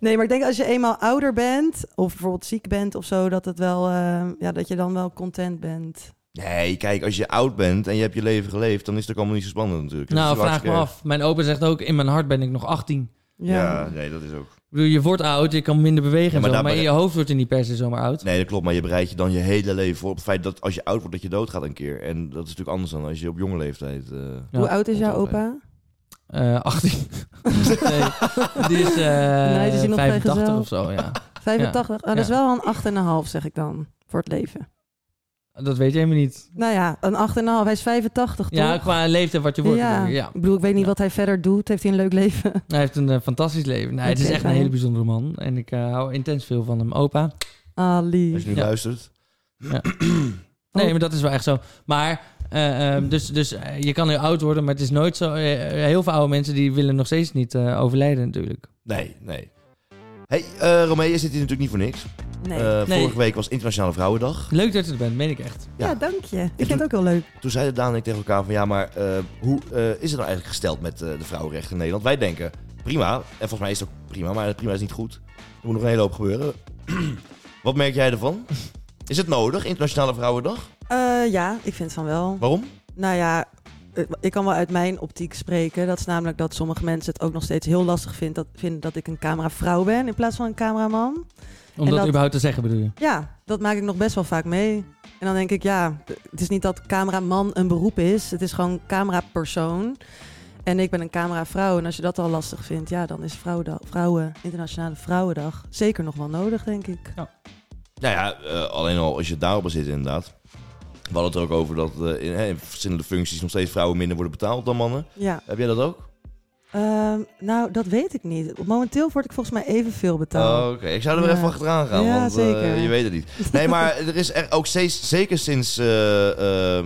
C: Nee, maar ik denk als je eenmaal ouder bent, of bijvoorbeeld ziek bent of zo, dat het wel, eh, ja, dat je dan wel content bent.
A: Nee, kijk, als je oud bent en je hebt je leven geleefd, dan is het ook allemaal niet zo spannend natuurlijk. Dat
B: Nou,
A: is
B: vraag me
A: hartstikke-
B: af. Mijn opa zegt ook, in mijn hart ben ik nog 18.
A: Ja. nee, dat is ook.
B: Ik bedoel, je wordt oud, je kan minder bewegen
A: Ja,
B: en
A: maar
B: zo,
A: daar
B: maar in
A: bere-
B: je hoofd wordt je niet per se zomaar oud.
A: Nee, dat klopt, maar je bereidt je dan je hele leven voor op het feit dat als je oud wordt, dat je doodgaat een keer. En dat is natuurlijk anders dan als je op jonge leeftijd. eh,
B: Ja.
C: Hoe oud is jouw
A: Content,
C: opa?
B: Eh, 18. nee, die is, eh
C: Nee, die is hier nog
B: 85
C: vrijgezel.
B: of zo, ja.
C: 85? Ah, dat is
B: Ja.
C: wel een 8,5 zeg ik dan, voor het leven.
B: Dat weet je helemaal niet.
C: Nou ja, een 8,5. Hij is 85, toch?
B: Ja, qua leeftijd wat je wordt.
C: ja.
B: bedoel je, ja.
C: ik bedoel, ik weet niet
B: Ja.
C: wat hij verder doet. Heeft hij een leuk leven?
B: Hij heeft een eh, fantastisch leven. Nee, het is
C: Oké,
B: echt een
C: fijn.
B: hele bijzondere man. En ik eh, hou intens veel van hem. Opa.
C: Ah,
A: Als je
C: lief.
A: nu
B: Ja.
A: luistert.
C: Oh.
B: Nee, maar dat is wel echt zo. Maar, eh, ehm, dus, dus eh, je kan heel oud worden, maar het is nooit zo... eh, heel veel oude mensen die willen nog steeds niet eh, overlijden natuurlijk.
A: Nee, nee. Hey, eh Romee, je zit hier natuurlijk niet voor niks.
C: Nee.
A: Eh,
B: Nee.
A: Vorige week was Internationale Vrouwendag.
B: Leuk dat je er bent, meen ik echt.
C: ja.
A: ja.
C: dank je. Ik vind het ook heel leuk.
A: Toen zeiden Daan en ik tegen elkaar van ja, maar eh, hoe eh, is het nou eigenlijk gesteld met eh, de vrouwenrechten in Nederland? Wij denken prima, en volgens mij is het ook prima, maar prima is niet goed. Er moet nog een hele hoop gebeuren. Wat merk jij ervan? Is het nodig, Internationale Vrouwendag?
C: Eh, ja, ik vind van wel.
A: Waarom?
C: Nou ja, eh, ik kan wel uit mijn optiek spreken. Dat is namelijk dat sommige mensen het ook nog steeds heel lastig vindt dat, vinden dat ik een cameravrouw ben in plaats van een cameraman.
B: Om dat
C: dat-
B: überhaupt te zeggen bedoel je.
C: Ja, dat maak ik nog best wel vaak mee. En dan denk ik, ja, het is niet dat cameraman een beroep is. Het is gewoon camerapersoon. En ik ben een cameravrouw. En als je dat al lastig vindt, ja, dan is Vrouwendag, Vrouwen, Internationale Vrouwendag zeker nog wel nodig, denk ik.
A: Nou ja, eh, alleen al als je daarop zit inderdaad. We hadden het er ook over dat eh, in, hè, in verschillende functies nog steeds vrouwen minder worden betaald dan mannen.
C: Ja,
A: Heb jij dat ook?
C: Ehm, nou, dat weet ik niet. Momenteel word ik volgens mij evenveel betaald.
A: Oh, Oké, ik zou er weer
C: Ja.
A: even achteraan gaan,
C: Ja,
A: want eh,
C: zeker.
A: je weet het niet. Nee, maar er is er ook steeds, zeker sinds eh, eh, eh,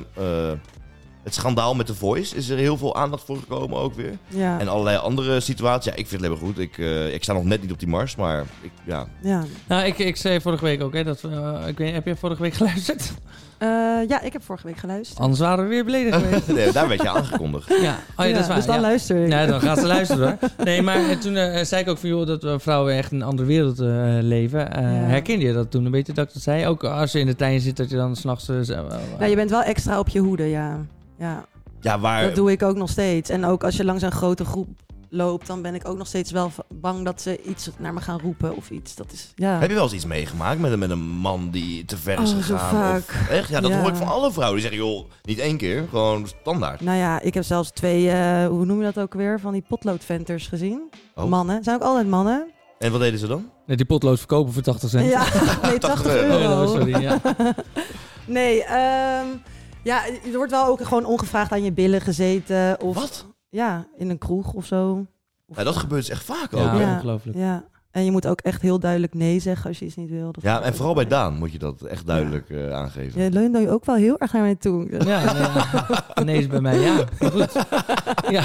A: het schandaal met The Voice, is er heel veel aandacht voor gekomen ook weer.
C: ja,
A: En allerlei andere situaties. Ja, ik vind het helemaal goed. Ik, eh, ik sta nog net niet op die mars, maar ik, ja.
C: ja.
B: Nou, ik, ik zei vorige week ook, hè, dat, eh, ik weet, heb je vorige week geluisterd?
C: Eh, ja, ik heb vorige week geluisterd.
B: Anders waren we weer beledigd geweest.
A: Nee, daar werd je aangekondigd.
B: Ja, oh, ja, dat is waar.
C: dus dan
B: ja.
C: luister ik.
B: Ja, dan gaan ze luisteren hoor. Nee, maar eh, toen eh, zei ik ook van joh, dat we vrouwen echt in een andere wereld eh, leven. Eh,
C: Ja.
B: Herkende je dat toen een beetje dat ik dat zei? Ook als je in de tuin zit, dat je dan s'nachts... nachts eh, eh,
C: Nou, je bent wel extra op je hoede, ja. ja.
A: Ja, waar...
C: Dat doe ik ook nog steeds. En ook als je langs een grote groep loopt, dan ben ik ook nog steeds wel v- bang dat ze iets naar me gaan roepen of iets. Dat is ja.
A: Heb je wel eens iets meegemaakt met een, met een man die te ver is
C: Oh, zo
A: gegaan? Of,
C: vaak.
A: echt? Ja, dat
C: Ja.
A: hoor ik van alle vrouwen. Die zeggen, joh, niet één keer, gewoon standaard.
C: Nou ja, ik heb zelfs twee, eh, hoe noem je dat ook weer, van die potloodventers gezien.
A: Oh.
C: Mannen, zijn ook altijd mannen.
A: En wat deden ze dan?
B: nee, die potlood verkopen voor 80 cent.
C: Ja, nee, 80
A: euro.
B: Oh,
C: euro.
B: dat was- sorry, ja.
C: Nee, ehm, ja, er wordt wel ook gewoon ongevraagd aan je billen gezeten. Of,
A: Wat?
C: Ja, in een kroeg of zo. Of-
A: Ja, dat gebeurt dus echt vaak ook.
B: Ja,
A: hè?
C: Ja.
B: ongelooflijk.
C: Ja, en je moet ook echt heel duidelijk nee zeggen als je iets niet wil. Dat
A: Ja,
C: vind ik
A: en
C: ook
A: vooral bij
C: belangrijk.
A: Daan moet je dat echt duidelijk eh, aangeven.
C: Je leunt dan ook wel heel erg naar mij toe.
B: Ja, nee, ja. ineens bij mij, ja. Maar goed. Ja.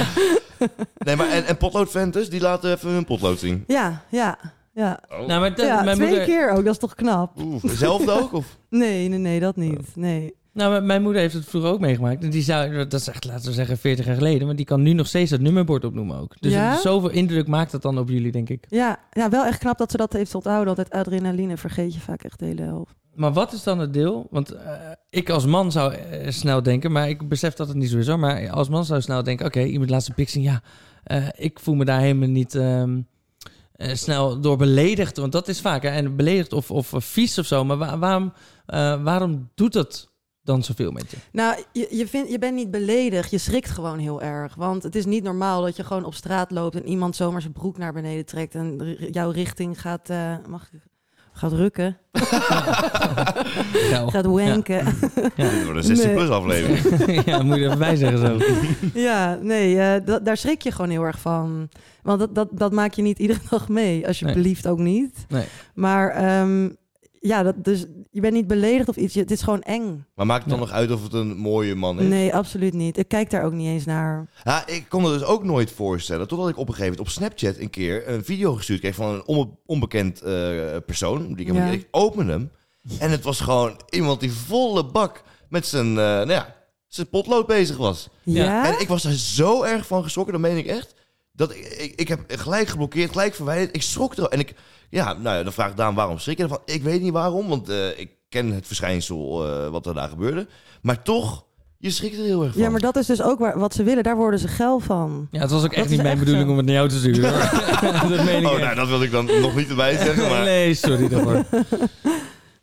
A: Nee, maar en, en potloodventers, die laten even hun potlood zien.
C: Ja, ja, ja.
B: Nou, maar dat-
C: ja
B: mijn
C: twee
B: moeder...
C: keer ook, dat is toch knap?
A: Oeh, zelf ook? Of?
C: Nee, nee, nee, dat niet. Nee.
B: Nou, mijn- mijn moeder heeft het vroeger ook meegemaakt. En die zou, dat is echt, laten we zeggen, 40 jaar geleden. Maar die kan nu nog steeds dat nummerbord opnoemen ook. Dus
C: Ja?
B: het- zoveel indruk maakt dat dan op jullie, denk ik.
C: Ja, ja, wel echt knap dat ze dat heeft onthouden. Altijd adrenaline vergeet je vaak echt de hele helft.
B: Maar wat is dan het deel? Want eh, ik als man zou eh, snel denken, maar ik besef dat het niet zo is hoor. Maar als man zou snel denken, oké, iemand laat zijn pik zien. Ja, eh, ik voel me daar helemaal niet ehm, eh, snel door beledigd. Want dat is vaak, hè, en beledigd of, of vies of zo. Maar wa- waarom, eh, waarom doet dat dan zoveel met je?
C: Nou, je, je, vindt je bent niet beledigd. Je schrikt gewoon heel erg. Want het is niet normaal dat je gewoon op straat loopt... en iemand zomaar zijn broek naar beneden trekt... en r- jouw richting gaat, eh, mag, ik- gaat rukken,
B: Nou,
C: gaat wanken.
A: Dit wordt een 16 plus aflevering.
B: ja, moet je er even bij zeggen zo.
C: Ja, nee, eh, da- daar schrik je gewoon heel erg van. Want dat, dat, dat maak je niet iedere dag mee, alsjeblieft ook niet.
B: Nee.
C: Maar ehm, ja, dat, dus je bent niet beledigd of iets. Je- het is gewoon eng.
A: Maar maakt het dan nog uit of het een mooie man is?
C: Nee. absoluut niet. Ik kijk daar ook niet eens naar.
A: Ja, ik kon me dus ook nooit voorstellen, totdat ik op een gegeven moment op Snapchat een keer een video gestuurd kreeg van een onbe- onbekend eh, persoon. Die ik, helemaal
C: Ja.
A: niet- ik opende hem en het was gewoon iemand die volle bak met zijn, eh, nou ja, zijn potlood bezig was.
C: Ja?
B: Ja.
A: En ik was daar zo erg van geschrokken, dat meen ik echt. Dat ik, ik, ik heb gelijk geblokkeerd, gelijk verwijderd. Ik schrok er. En ik, ja, nou ja, dan vraagt Daan waarom schrik je ervan? Ik weet niet waarom, want eh, ik ken het verschijnsel eh, wat er daar gebeurde. Maar toch, je schrikt er heel erg van.
C: Ja, maar dat is dus ook waar, wat ze willen. Daar worden ze geil van.
B: Ja, het was ook echt
C: is
B: niet mijn
C: echt
B: bedoeling
C: zo.
B: om het naar jou te sturen. hoor. dat meen ik
A: Oh,
B: echt.
A: nou, dat wilde ik dan nog niet erbij zeggen. Maar,
B: Nee, sorry daarvoor.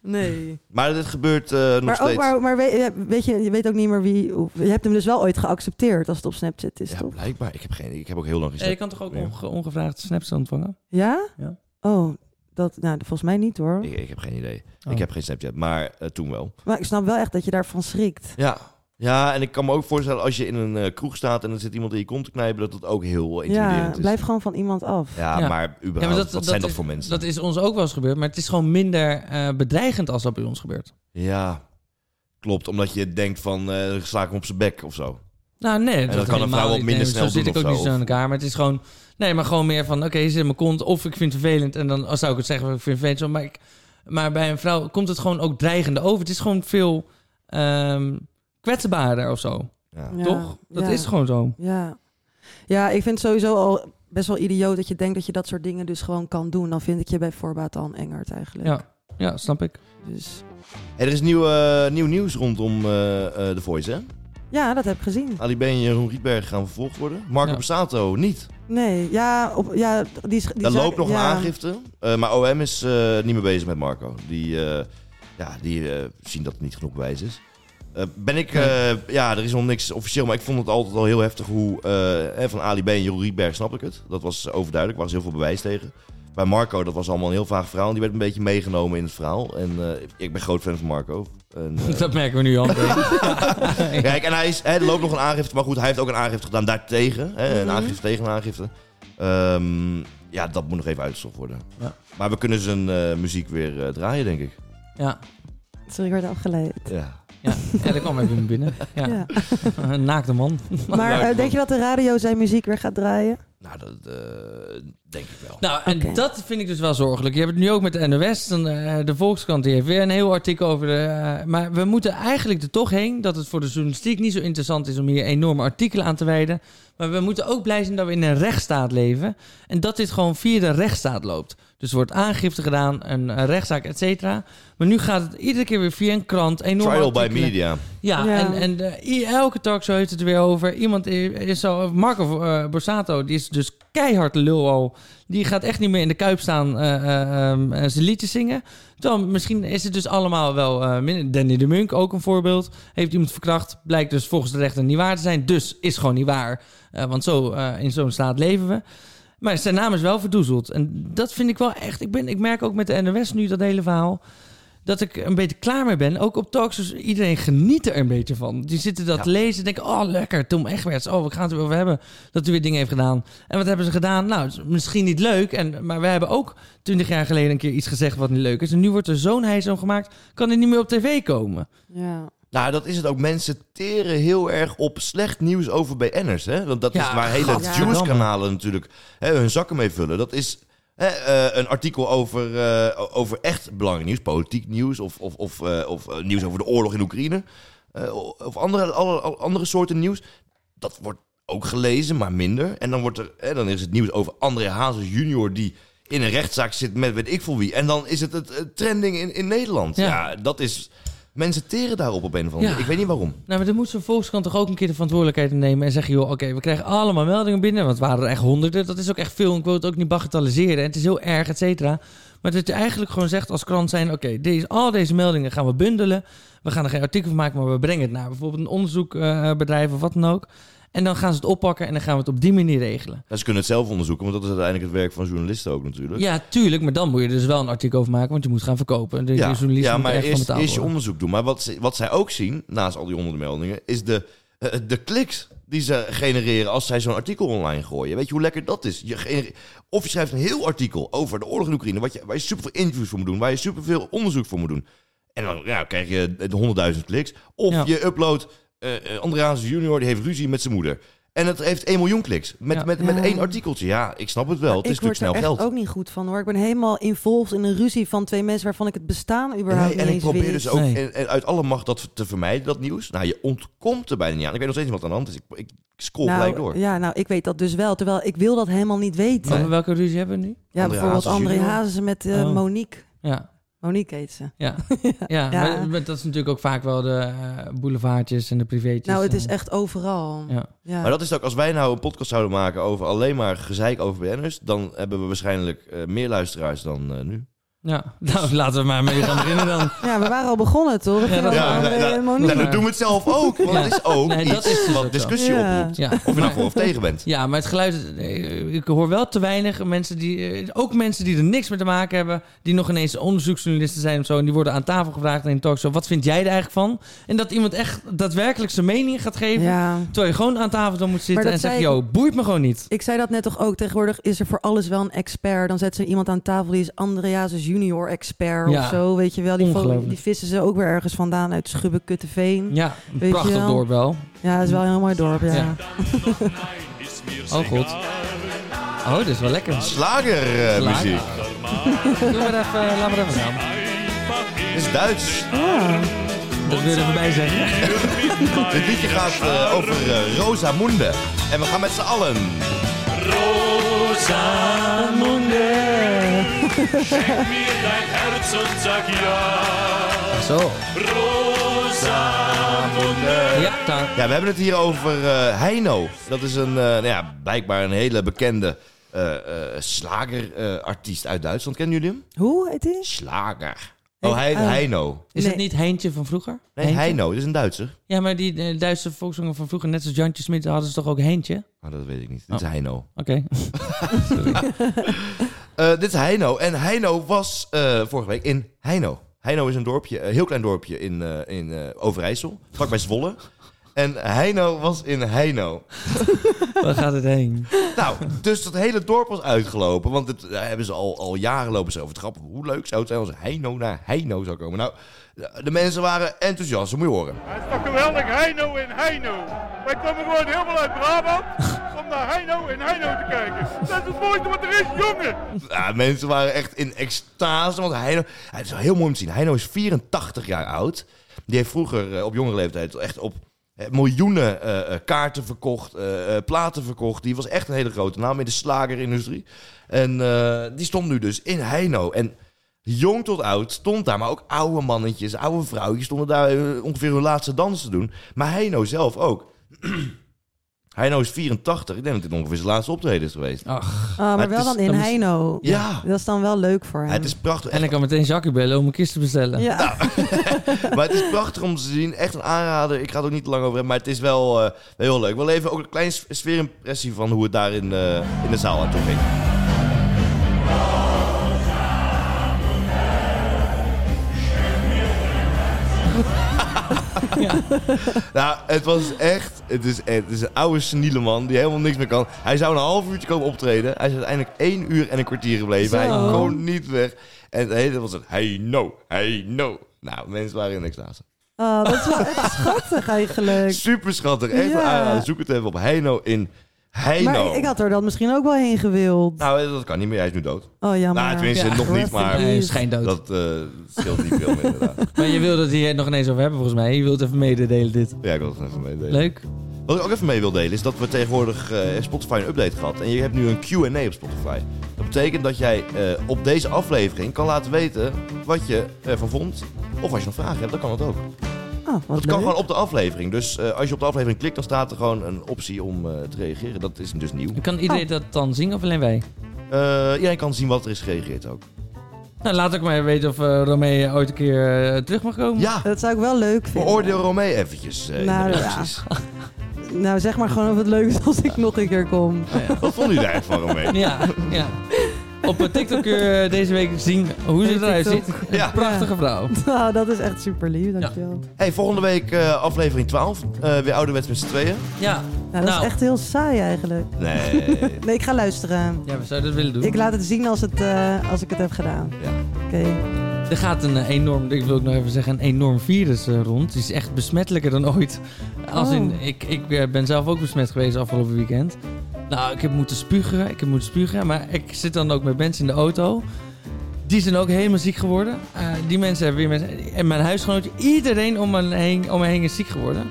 C: Nee.
A: maar dit gebeurt eh, nog
C: Maar,
A: steeds.
C: ook, maar, maar weet, ja, weet je, je weet ook niet meer wie... hoe- Je hebt hem dus wel ooit geaccepteerd als het op Snapchat is,
A: Ja,
C: toch?
A: blijkbaar. Ik heb, geen, ik heb ook heel lang
B: Eh, je
A: gezegd.
B: kan toch ook
A: Ja.
B: onge- ongevraagd snaps ontvangen?
C: Ja?
B: Ja.
C: Oh, dat, nou, volgens mij niet hoor.
A: Ik, ik heb geen idee.
B: Oh.
A: Ik heb geen Snapchat, maar eh, toen wel.
C: Maar ik snap wel echt dat je daarvan schrikt.
A: Ja. ja, en ik kan me ook voorstellen als je in een eh, kroeg staat... en er zit iemand in je kont te knijpen, dat dat ook heel
C: Ja,
A: intimiderend is.
C: blijf gewoon van iemand af.
A: Ja,
B: Ja.
A: maar überhaupt,
B: Ja, maar
A: wat zijn dat
B: is-
A: voor mensen?
B: Dat is ons ook wel eens gebeurd, maar het is gewoon minder eh, bedreigend als dat bij ons gebeurt.
A: Ja, klopt. Omdat je denkt van, eh sla ik hem op zijn bek of zo.
B: Nou, nee.
A: dat kan een
B: helemaal
A: vrouw wat
B: niet.
A: minder
B: nee,
A: snel
B: Zo zit
A: doen
B: ik ook
A: of
B: niet
A: zo,
B: zo aan
A: of-
B: elkaar, maar het is gewoon... Nee, maar gewoon meer van, oké, hij zit in mijn kont, of ik vind het vervelend, en dan oh, zou ik het zeggen, ik vind het vervelend, zo, maar, ik, maar bij een vrouw komt het gewoon ook dreigende over. Het is gewoon veel ehm, kwetsbaarder of zo,
A: Ja.
C: Ja,
B: toch? Dat
C: ja,
B: is gewoon zo.
C: Ja. ja, ik vind het sowieso al best wel idioot dat je denkt dat je dat soort dingen dus gewoon kan doen. Dan vind ik je bij voorbaat al een engert eigenlijk.
B: Ja. Ja, snap ik.
C: Dus,
A: Hey, er is nieuw, eh, nieuw nieuws rondom eh, eh, The Voice, hè?
C: ja, dat heb ik gezien.
A: Ali B en Jeroen Rietberg gaan vervolgd worden. Marco
B: Ja.
A: Borsato niet.
C: Nee, ja, op, ja die, is- die
A: Daar
C: zaak-
A: loopt nog
C: ja.
A: een aangifte. eh, maar OM is eh, niet meer bezig met Marco. Die, eh, ja, die eh, zien dat er niet genoeg bewijs is. Eh, ben ik, eh, ja, er is nog niks officieel, maar ik vond het altijd al heel heftig hoe eh, hè, van Ali B en Jeroen Rietberg snap ik het. Dat was overduidelijk, er was heel veel bewijs tegen. Bij Marco, dat was allemaal een heel vaag verhaal. En die werd een beetje meegenomen in het verhaal. En eh, ik ben groot fan van Marco. En, eh,
B: Dat merken we nu al.
A: Kijk, en hij is, hè, er loopt nog een aangifte, maar goed, hij heeft ook een aangifte gedaan daartegen. Hè, Een
C: Mhm.
A: aangifte tegen een aangifte. Ehm, ja, dat moet nog even uitgezocht worden.
B: Ja.
A: Maar we kunnen zijn eh, muziek weer eh, draaien, denk ik.
B: Ja,
C: Sorry, ik werd afgeleid.
A: Ja.
B: ja. ja, dat kwam even binnen. Ja.
C: Ja.
B: Een naakte man.
C: Maar eh, denk je dat de radio zijn muziek weer gaat draaien?
A: Nou, dat eh, denk ik wel.
B: Nou, en
C: Oké.
B: dat vind ik dus wel zorgelijk. Je hebt het nu ook met de NOS. Dan, eh, de Volkskrant die heeft weer een heel artikel over de... eh, maar we moeten eigenlijk er toch heen dat het voor de journalistiek niet zo interessant is... om hier enorme artikelen aan te wijden. Maar we moeten ook blij zijn dat we in een rechtsstaat leven. En dat dit gewoon via de rechtsstaat loopt. Dus er wordt aangifte gedaan, een, eh, rechtszaak, et cetera. Maar nu gaat het iedere keer weer via een krant. Enorme
A: Trial by
B: artikelen.
A: media.
B: Ja,
C: Ja.
B: en, en eh, i- elke talkshow heeft het er weer over. Iemand i- is zo... Marco eh, Borsato, die is dus keihard lul al. Die gaat echt niet meer in de kuip staan eh, eh, ehm, eh, zijn liedjes zingen. Dan misschien is het dus allemaal wel eh, minder. Danny de Munk, ook een voorbeeld. Heeft iemand verkracht, blijkt dus volgens de rechter niet waar te zijn. Dus is gewoon niet waar. Eh, want zo, eh, in zo'n staat leven we. Maar zijn naam is wel verdoezeld. En dat vind ik wel echt... Ik, ben, ik merk ook met de NOS nu dat hele verhaal dat ik een beetje klaar mee ben. Ook op talkshows, iedereen geniet er een beetje van. Die zitten dat te lezen en denken, oh lekker, Tom Egberts. Oh, we gaan het er weer over hebben dat hij weer dingen heeft gedaan. En wat hebben ze gedaan? Nou, het is misschien niet leuk, en, maar we hebben ook 20 jaar geleden een keer iets gezegd wat niet leuk is. En nu wordt er zo'n hijs om gemaakt, kan hij niet meer op tv komen.
C: Ja.
A: Nou, dat is het ook. Mensen teren heel erg op slecht nieuws over BN'ers. Hè? Want dat is
B: Ja,
A: waar hele
B: gadverdamme.
A: viewskanalen natuurlijk hè, hun zakken mee vullen. Dat is hè, eh, een artikel over, eh, over echt belangrijk nieuws. Politiek nieuws of, of, of, eh, of eh, nieuws over de oorlog in Oekraïne. eh, of andere, alle, alle andere soorten nieuws. Dat wordt ook gelezen, maar minder. En dan, wordt er, hè, dan is het nieuws over André Hazes junior die in een rechtszaak zit met weet ik veel wie. En dan is het het eh, trending in, in Nederland.
B: Ja.
A: Ja. dat is... Mensen teren daarop op een of andere
B: Ja.
A: manier. Ik weet niet waarom.
B: Nou, maar dan moet zo'n Volkskrant toch ook een keer de verantwoordelijkheid nemen en zeggen, joh, oké, we krijgen allemaal meldingen binnen, want het waren er echt honderden. Dat is ook echt veel. Ik wil het ook niet bagatelliseren. En het is heel erg, et cetera. Maar dat je eigenlijk gewoon zegt als krant zijn, oké, deze, al deze meldingen gaan we bundelen. We gaan er geen artikel van maken, maar we brengen het naar bijvoorbeeld een onderzoekbedrijf of wat dan ook. En dan gaan ze het oppakken en dan gaan we het op die manier regelen.
A: Nou, ze kunnen het zelf onderzoeken, want dat is uiteindelijk het werk van journalisten ook natuurlijk.
B: Ja, tuurlijk, maar dan moet je er dus wel een artikel over maken, want je moet gaan verkopen. De, de journalist
A: ja,
B: moet
A: maar
B: er echt
A: eerst,
B: van betaald
A: eerst je
B: worden.
A: onderzoek doen. Maar wat, ze- wat zij ook zien, naast al die honderden meldingen, is de, eh, de kliks. die ze genereren als zij zo'n artikel online gooien. Weet je hoe lekker dat is? Je genereert- of je schrijft een heel artikel over de oorlog in Oekraïne, wat je, waar je superveel interviews voor moet doen, waar je superveel onderzoek voor moet doen. En dan ja, krijg je de 100.000 kliks. Of
B: Ja.
A: je upload eh eh, Andreas junior, die heeft ruzie met zijn moeder. En het heeft 1 miljoen kliks. Met,
B: Ja.
A: met, met
C: Ja.
A: één artikeltje. Ja, ik snap het wel. Het is
C: ik word
A: natuurlijk
C: er
A: snel
C: echt
A: geld.
C: ook niet goed van hoor. Ik ben helemaal involved in een ruzie van twee mensen waarvan ik het bestaan
A: En, hij-
C: überhaupt niet
A: en ik
C: eens
A: probeer
C: weet.
A: dus ook
B: Nee.
A: en, en uit alle macht dat te vermijden, dat nieuws. Nou, je ontkomt er bijna niet aan. Ik weet nog steeds niet wat aan de hand is. Ik, ik scroll
C: nou,
A: gelijk door.
C: Ja, nou, ik weet dat dus wel. Terwijl ik wil dat helemaal niet weten.
A: Nee.
B: Over welke ruzie hebben we nu?
C: Ja,
A: André
C: bijvoorbeeld
A: Hazes
C: André
A: junior.
C: Hazen met eh,
B: Oh.
C: Monique.
B: Ja.
C: Monique heet ze.
B: Ja, ja,
C: Ja.
B: Maar, maar dat is natuurlijk ook vaak wel de eh, boulevardjes en de privétjes.
C: Nou, het
B: eh,
C: is echt overal.
B: Ja.
C: Ja.
A: Maar dat is het ook, als wij nou een podcast zouden maken over alleen maar gezeik over BN'ers, dan hebben we waarschijnlijk eh, meer luisteraars dan eh, nu.
B: Ja,
C: Dus-
B: nou laten we maar mee gaan beginnen dan.
C: ja, we waren al begonnen, toch? We gingen
B: dat-
C: over
B: Ja,
C: André
A: nou,
C: en
A: Nou,
C: Monique.
A: dan doen we het zelf ook. Want
B: Ja.
A: het is ook
B: Nee,
A: iets
B: dat is dus ook zo.
A: wat discussie
C: Ja.
A: oproept.
B: Ja.
A: Of je nou voor of tegen bent.
B: ja, maar het geluid, eh, ik hoor wel te weinig mensen die, eh, ook mensen die er niks mee te maken hebben, die nog ineens onderzoeksjournalisten zijn of zo, en die worden aan tafel gevraagd in een talkshow, wat vind jij er eigenlijk van? En dat iemand echt daadwerkelijk zijn mening gaat geven,
C: Ja.
B: terwijl je gewoon aan tafel dan moet
C: Maar
B: zitten
C: dat
B: en zegt,
C: zei ik-
B: joh, boeit me gewoon niet.
C: Ik zei dat net toch ook. Tegenwoordig is er voor alles wel een expert. Dan zet ze iemand aan tafel die is Andreas junior expert
B: Ja.
C: of zo. Weet je wel, die, vo-
B: Ongelooflijk.
C: die vissen ze ook weer ergens vandaan uit Schubbekutteveen.
B: Ja,
C: Ja,
B: een
C: Weet je
B: prachtig
C: wel?
B: dorp wel. Oh,
C: ja dat is wel een heel mooi dorp, ja.
B: Ja. Oh god. Oh, dit is wel lekker.
A: Slagermuziek.
B: Doe maar even, laat maar even gaan.
A: Het is Duits.
B: Dat wil je erbij zeggen.
A: Dit liedje gaat eh, over eh, Rosa Munde. En we gaan met z'n allen.
B: Zo. Ja, daar.
A: Ja, we hebben het hier over eh, Heino. Dat is een, eh, nou ja, blijkbaar een hele bekende eh, eh, slagerartiest uit Duitsland. Kennen jullie hem?
C: Hoe heet die?
A: Slager. Oh, hij heet
C: Oh.
A: Heino.
B: Is
C: Nee.
B: het niet Heintje van vroeger?
A: Nee,
B: Heintje?
A: Heino. Dit is een Duitser.
B: Ja, maar die eh, Duitse volkszongen van vroeger, net als Jantje Smit, hadden ze toch ook Heintje? Oké.
A: Maar dat weet ik niet. Dit is
B: Oh.
A: Heino. Eh, dit is Heino. En Heino was eh, vorige week in Heino. Heino is een dorpje, een heel klein dorpje in, eh, in eh, Overijssel, vlakbij Zwolle. En Heino was in Heino.
B: Waar gaat het heen?
A: Nou, dus dat hele dorp was uitgelopen. Want het, daar hebben ze al, al jaren lopen ze over het grap. Hoe leuk zou het zijn als Heino naar Heino zou komen. Nou, de mensen waren enthousiast, dat moet je horen.
I: Het is toch geweldig, Heino in Heino. Wij komen gewoon helemaal uit Brabant om naar Heino in Heino te kijken. Dat is het mooiste wat er is, jongen.
A: Ja, mensen waren echt in extase. Want Heino, het is wel heel mooi om te zien. Heino is 84 jaar oud. Die heeft vroeger eh, op jongere leeftijd echt op eh, miljoenen eh, eh, kaarten verkocht, eh, eh, platen verkocht. Die was echt een hele grote naam in de slagerindustrie. En eh, die stond nu dus in Heino. En jong tot oud stond daar, maar ook oude mannetjes, oude vrouwtjes stonden daar eh, ongeveer hun laatste dans te doen. Maar Heino zelf ook. Heino is 84. Ik denk dat dit ongeveer zijn laatste optreden is geweest.
B: Ach.
C: Ah, maar,
A: het
C: wel
A: is-
C: dan in
B: dat is-
C: Heino.
A: Ja.
C: Dat is dan wel leuk voor hem.
A: Het is prachtig.
B: En ik kan meteen Jacques bellen om een kist te bestellen.
C: ja.
A: Maar het is prachtig om te zien. Echt een aanrader. Ik ga het ook niet te lang over hebben. Maar het is wel eh, wel heel leuk. Wel even ook een kleine s- sfeerimpressie van hoe het daar in, eh, in de zaal aan toe ging. Nou, het was echt... Het is, het is een oude seniele man die helemaal niks meer kan. Hij zou een half uurtje komen optreden. Hij is uiteindelijk één uur en een kwartier gebleven. Hij kon niet weg. En het hele was het... Hey no, hey no. Nou, mensen waren in extase.
C: Oh, dat is wel echt schattig eigenlijk.
A: Super schattig. Echt
C: Ja.
A: een aanrader. Zoek het even op Heino in Heino.
C: Maar ik had er dan misschien ook wel heen gewild.
A: Nou, dat kan niet meer. Hij is nu dood.
C: Oh, jammer.
A: nou, tenminste,
B: Ja,
A: nog
C: rest
A: niet,
C: in
A: maar...
B: Nee,
C: Jezus.
B: schijndood.
A: Dat eh, scheelt niet veel meer, inderdaad.
B: Maar je wilde het hier nog ineens over hebben, volgens mij. Je wilt even mededelen dit.
A: Ja, ik wil het even meedelen.
B: Leuk.
A: Wat ik ook even mee wil delen is dat we tegenwoordig eh, heeft Spotify een update gehad. En je hebt nu een QA op Spotify. Dat betekent dat jij eh, op deze aflevering kan laten weten wat je ervan vond. Of als je nog vragen hebt, dan kan dat ook.
C: Oh, wat
A: Dat kan
C: leuk.
A: gewoon op de aflevering. Dus eh, als je op de aflevering klikt, dan staat er gewoon een optie om eh, te reageren. Dat is dus nieuw.
B: Kan
C: Oh.
B: iedereen dat dan zien of alleen wij?
A: Eh iedereen kan zien wat er is gereageerd ook.
B: Nou, laat ook maar weten of eh Romee ooit een keer eh, terug mag komen.
A: Ja,
C: Dat zou ik wel leuk vinden.
A: veroordeel Romee eventjes. eh, in
C: Nou,
A: de
C: ja.
A: reacties.
C: Nou, zeg maar gewoon of het leuk is als ik nog een keer kom.
A: Wat vond u daar eigenlijk van, Romee?
B: Ja, ja. Of op eh, TikTok kun je deze week zien hoe ze
C: Hey,
B: eruit ziet.
C: TikTok.
A: Ja.
B: Een prachtige vrouw.
C: Nou, dat is echt super lief, dankjewel.
A: Hey, volgende week eh, aflevering 12. Eh, weer ouderwets met z'n tweeën.
B: Ja,
C: Nou, dat
B: Nou.
C: is echt heel saai eigenlijk.
A: Nee.
C: Nee, ik ga luisteren.
B: ja we zouden dat willen doen.
C: Ik laat het zien als, het, eh, als ik het heb gedaan.
A: Ja.
C: Oké.
B: Er gaat een eh, enorm, ik wil ook nog even zeggen, een enorm virus eh, rond. Die is echt besmettelijker dan ooit. Als
C: Oh.
B: in, ik, ik eh, ben zelf ook besmet geweest afgelopen weekend. Nou, ik heb moeten spugen, ik heb moeten spugen. Maar ik zit dan ook met mensen in de auto. Die zijn ook helemaal ziek geworden. Eh, die mensen hebben weer mensen. En mijn huisgenootje, iedereen om me heen, om me heen is ziek geworden.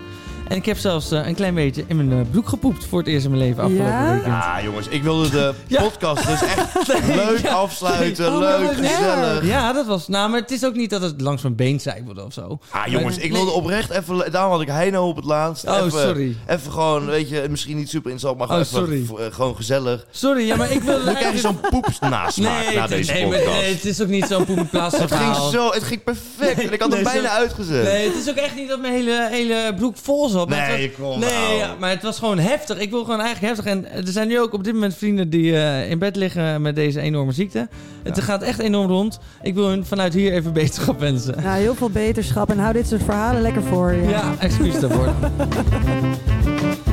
B: En ik heb zelfs eh, een klein beetje in mijn eh, broek gepoept voor het eerst in mijn leven afgelopen
C: Ja?
B: weekend.
A: Ah, jongens, ik wilde de
B: Ja.
A: podcast dus echt leuk afsluiten.
C: Oh,
A: leuk,
C: wat erg.
A: gezellig.
B: Ja, dat was. Nou, maar het is ook niet dat het langs mijn been zijpelde of zo.
A: Ah, jongens, ik wilde oprecht even... Daarom had ik Heino op het laatst.
B: Oh,
A: even,
B: sorry.
A: Even gewoon, weet je, misschien niet super interessant, maar gewoon,
B: Oh, sorry.
A: even, v- eh, gewoon gezellig.
B: Sorry, ja, maar ik wilde.
A: Dan krijg je zo'n poepsnasmaak na
B: het is-
A: deze
B: nee, maar-
A: podcast.
B: nee, het is ook niet zo'n poepenplaats
A: het, ging
B: verhaal.
A: zo, het ging perfect.
B: Nee,
A: en ik had hem
B: nee,
A: bijna
B: zo-
A: uitgezet.
B: Nee, het is ook echt niet dat mijn hele, hele broek vol zat. maar het
A: Nee,
B: was-
A: kom nou.
B: nee ja, maar het was gewoon heftig. Ik wil gewoon eigenlijk heftig. En er zijn nu ook op dit moment vrienden die eh, in bed liggen met deze enorme ziekte. Het
A: Ja.
B: gaat echt enorm rond. Ik wil hun vanuit hier even beterschap wensen.
C: Nou, heel veel beterschap en hou dit soort verhalen lekker voor je.
B: Ja, excuus daarvoor.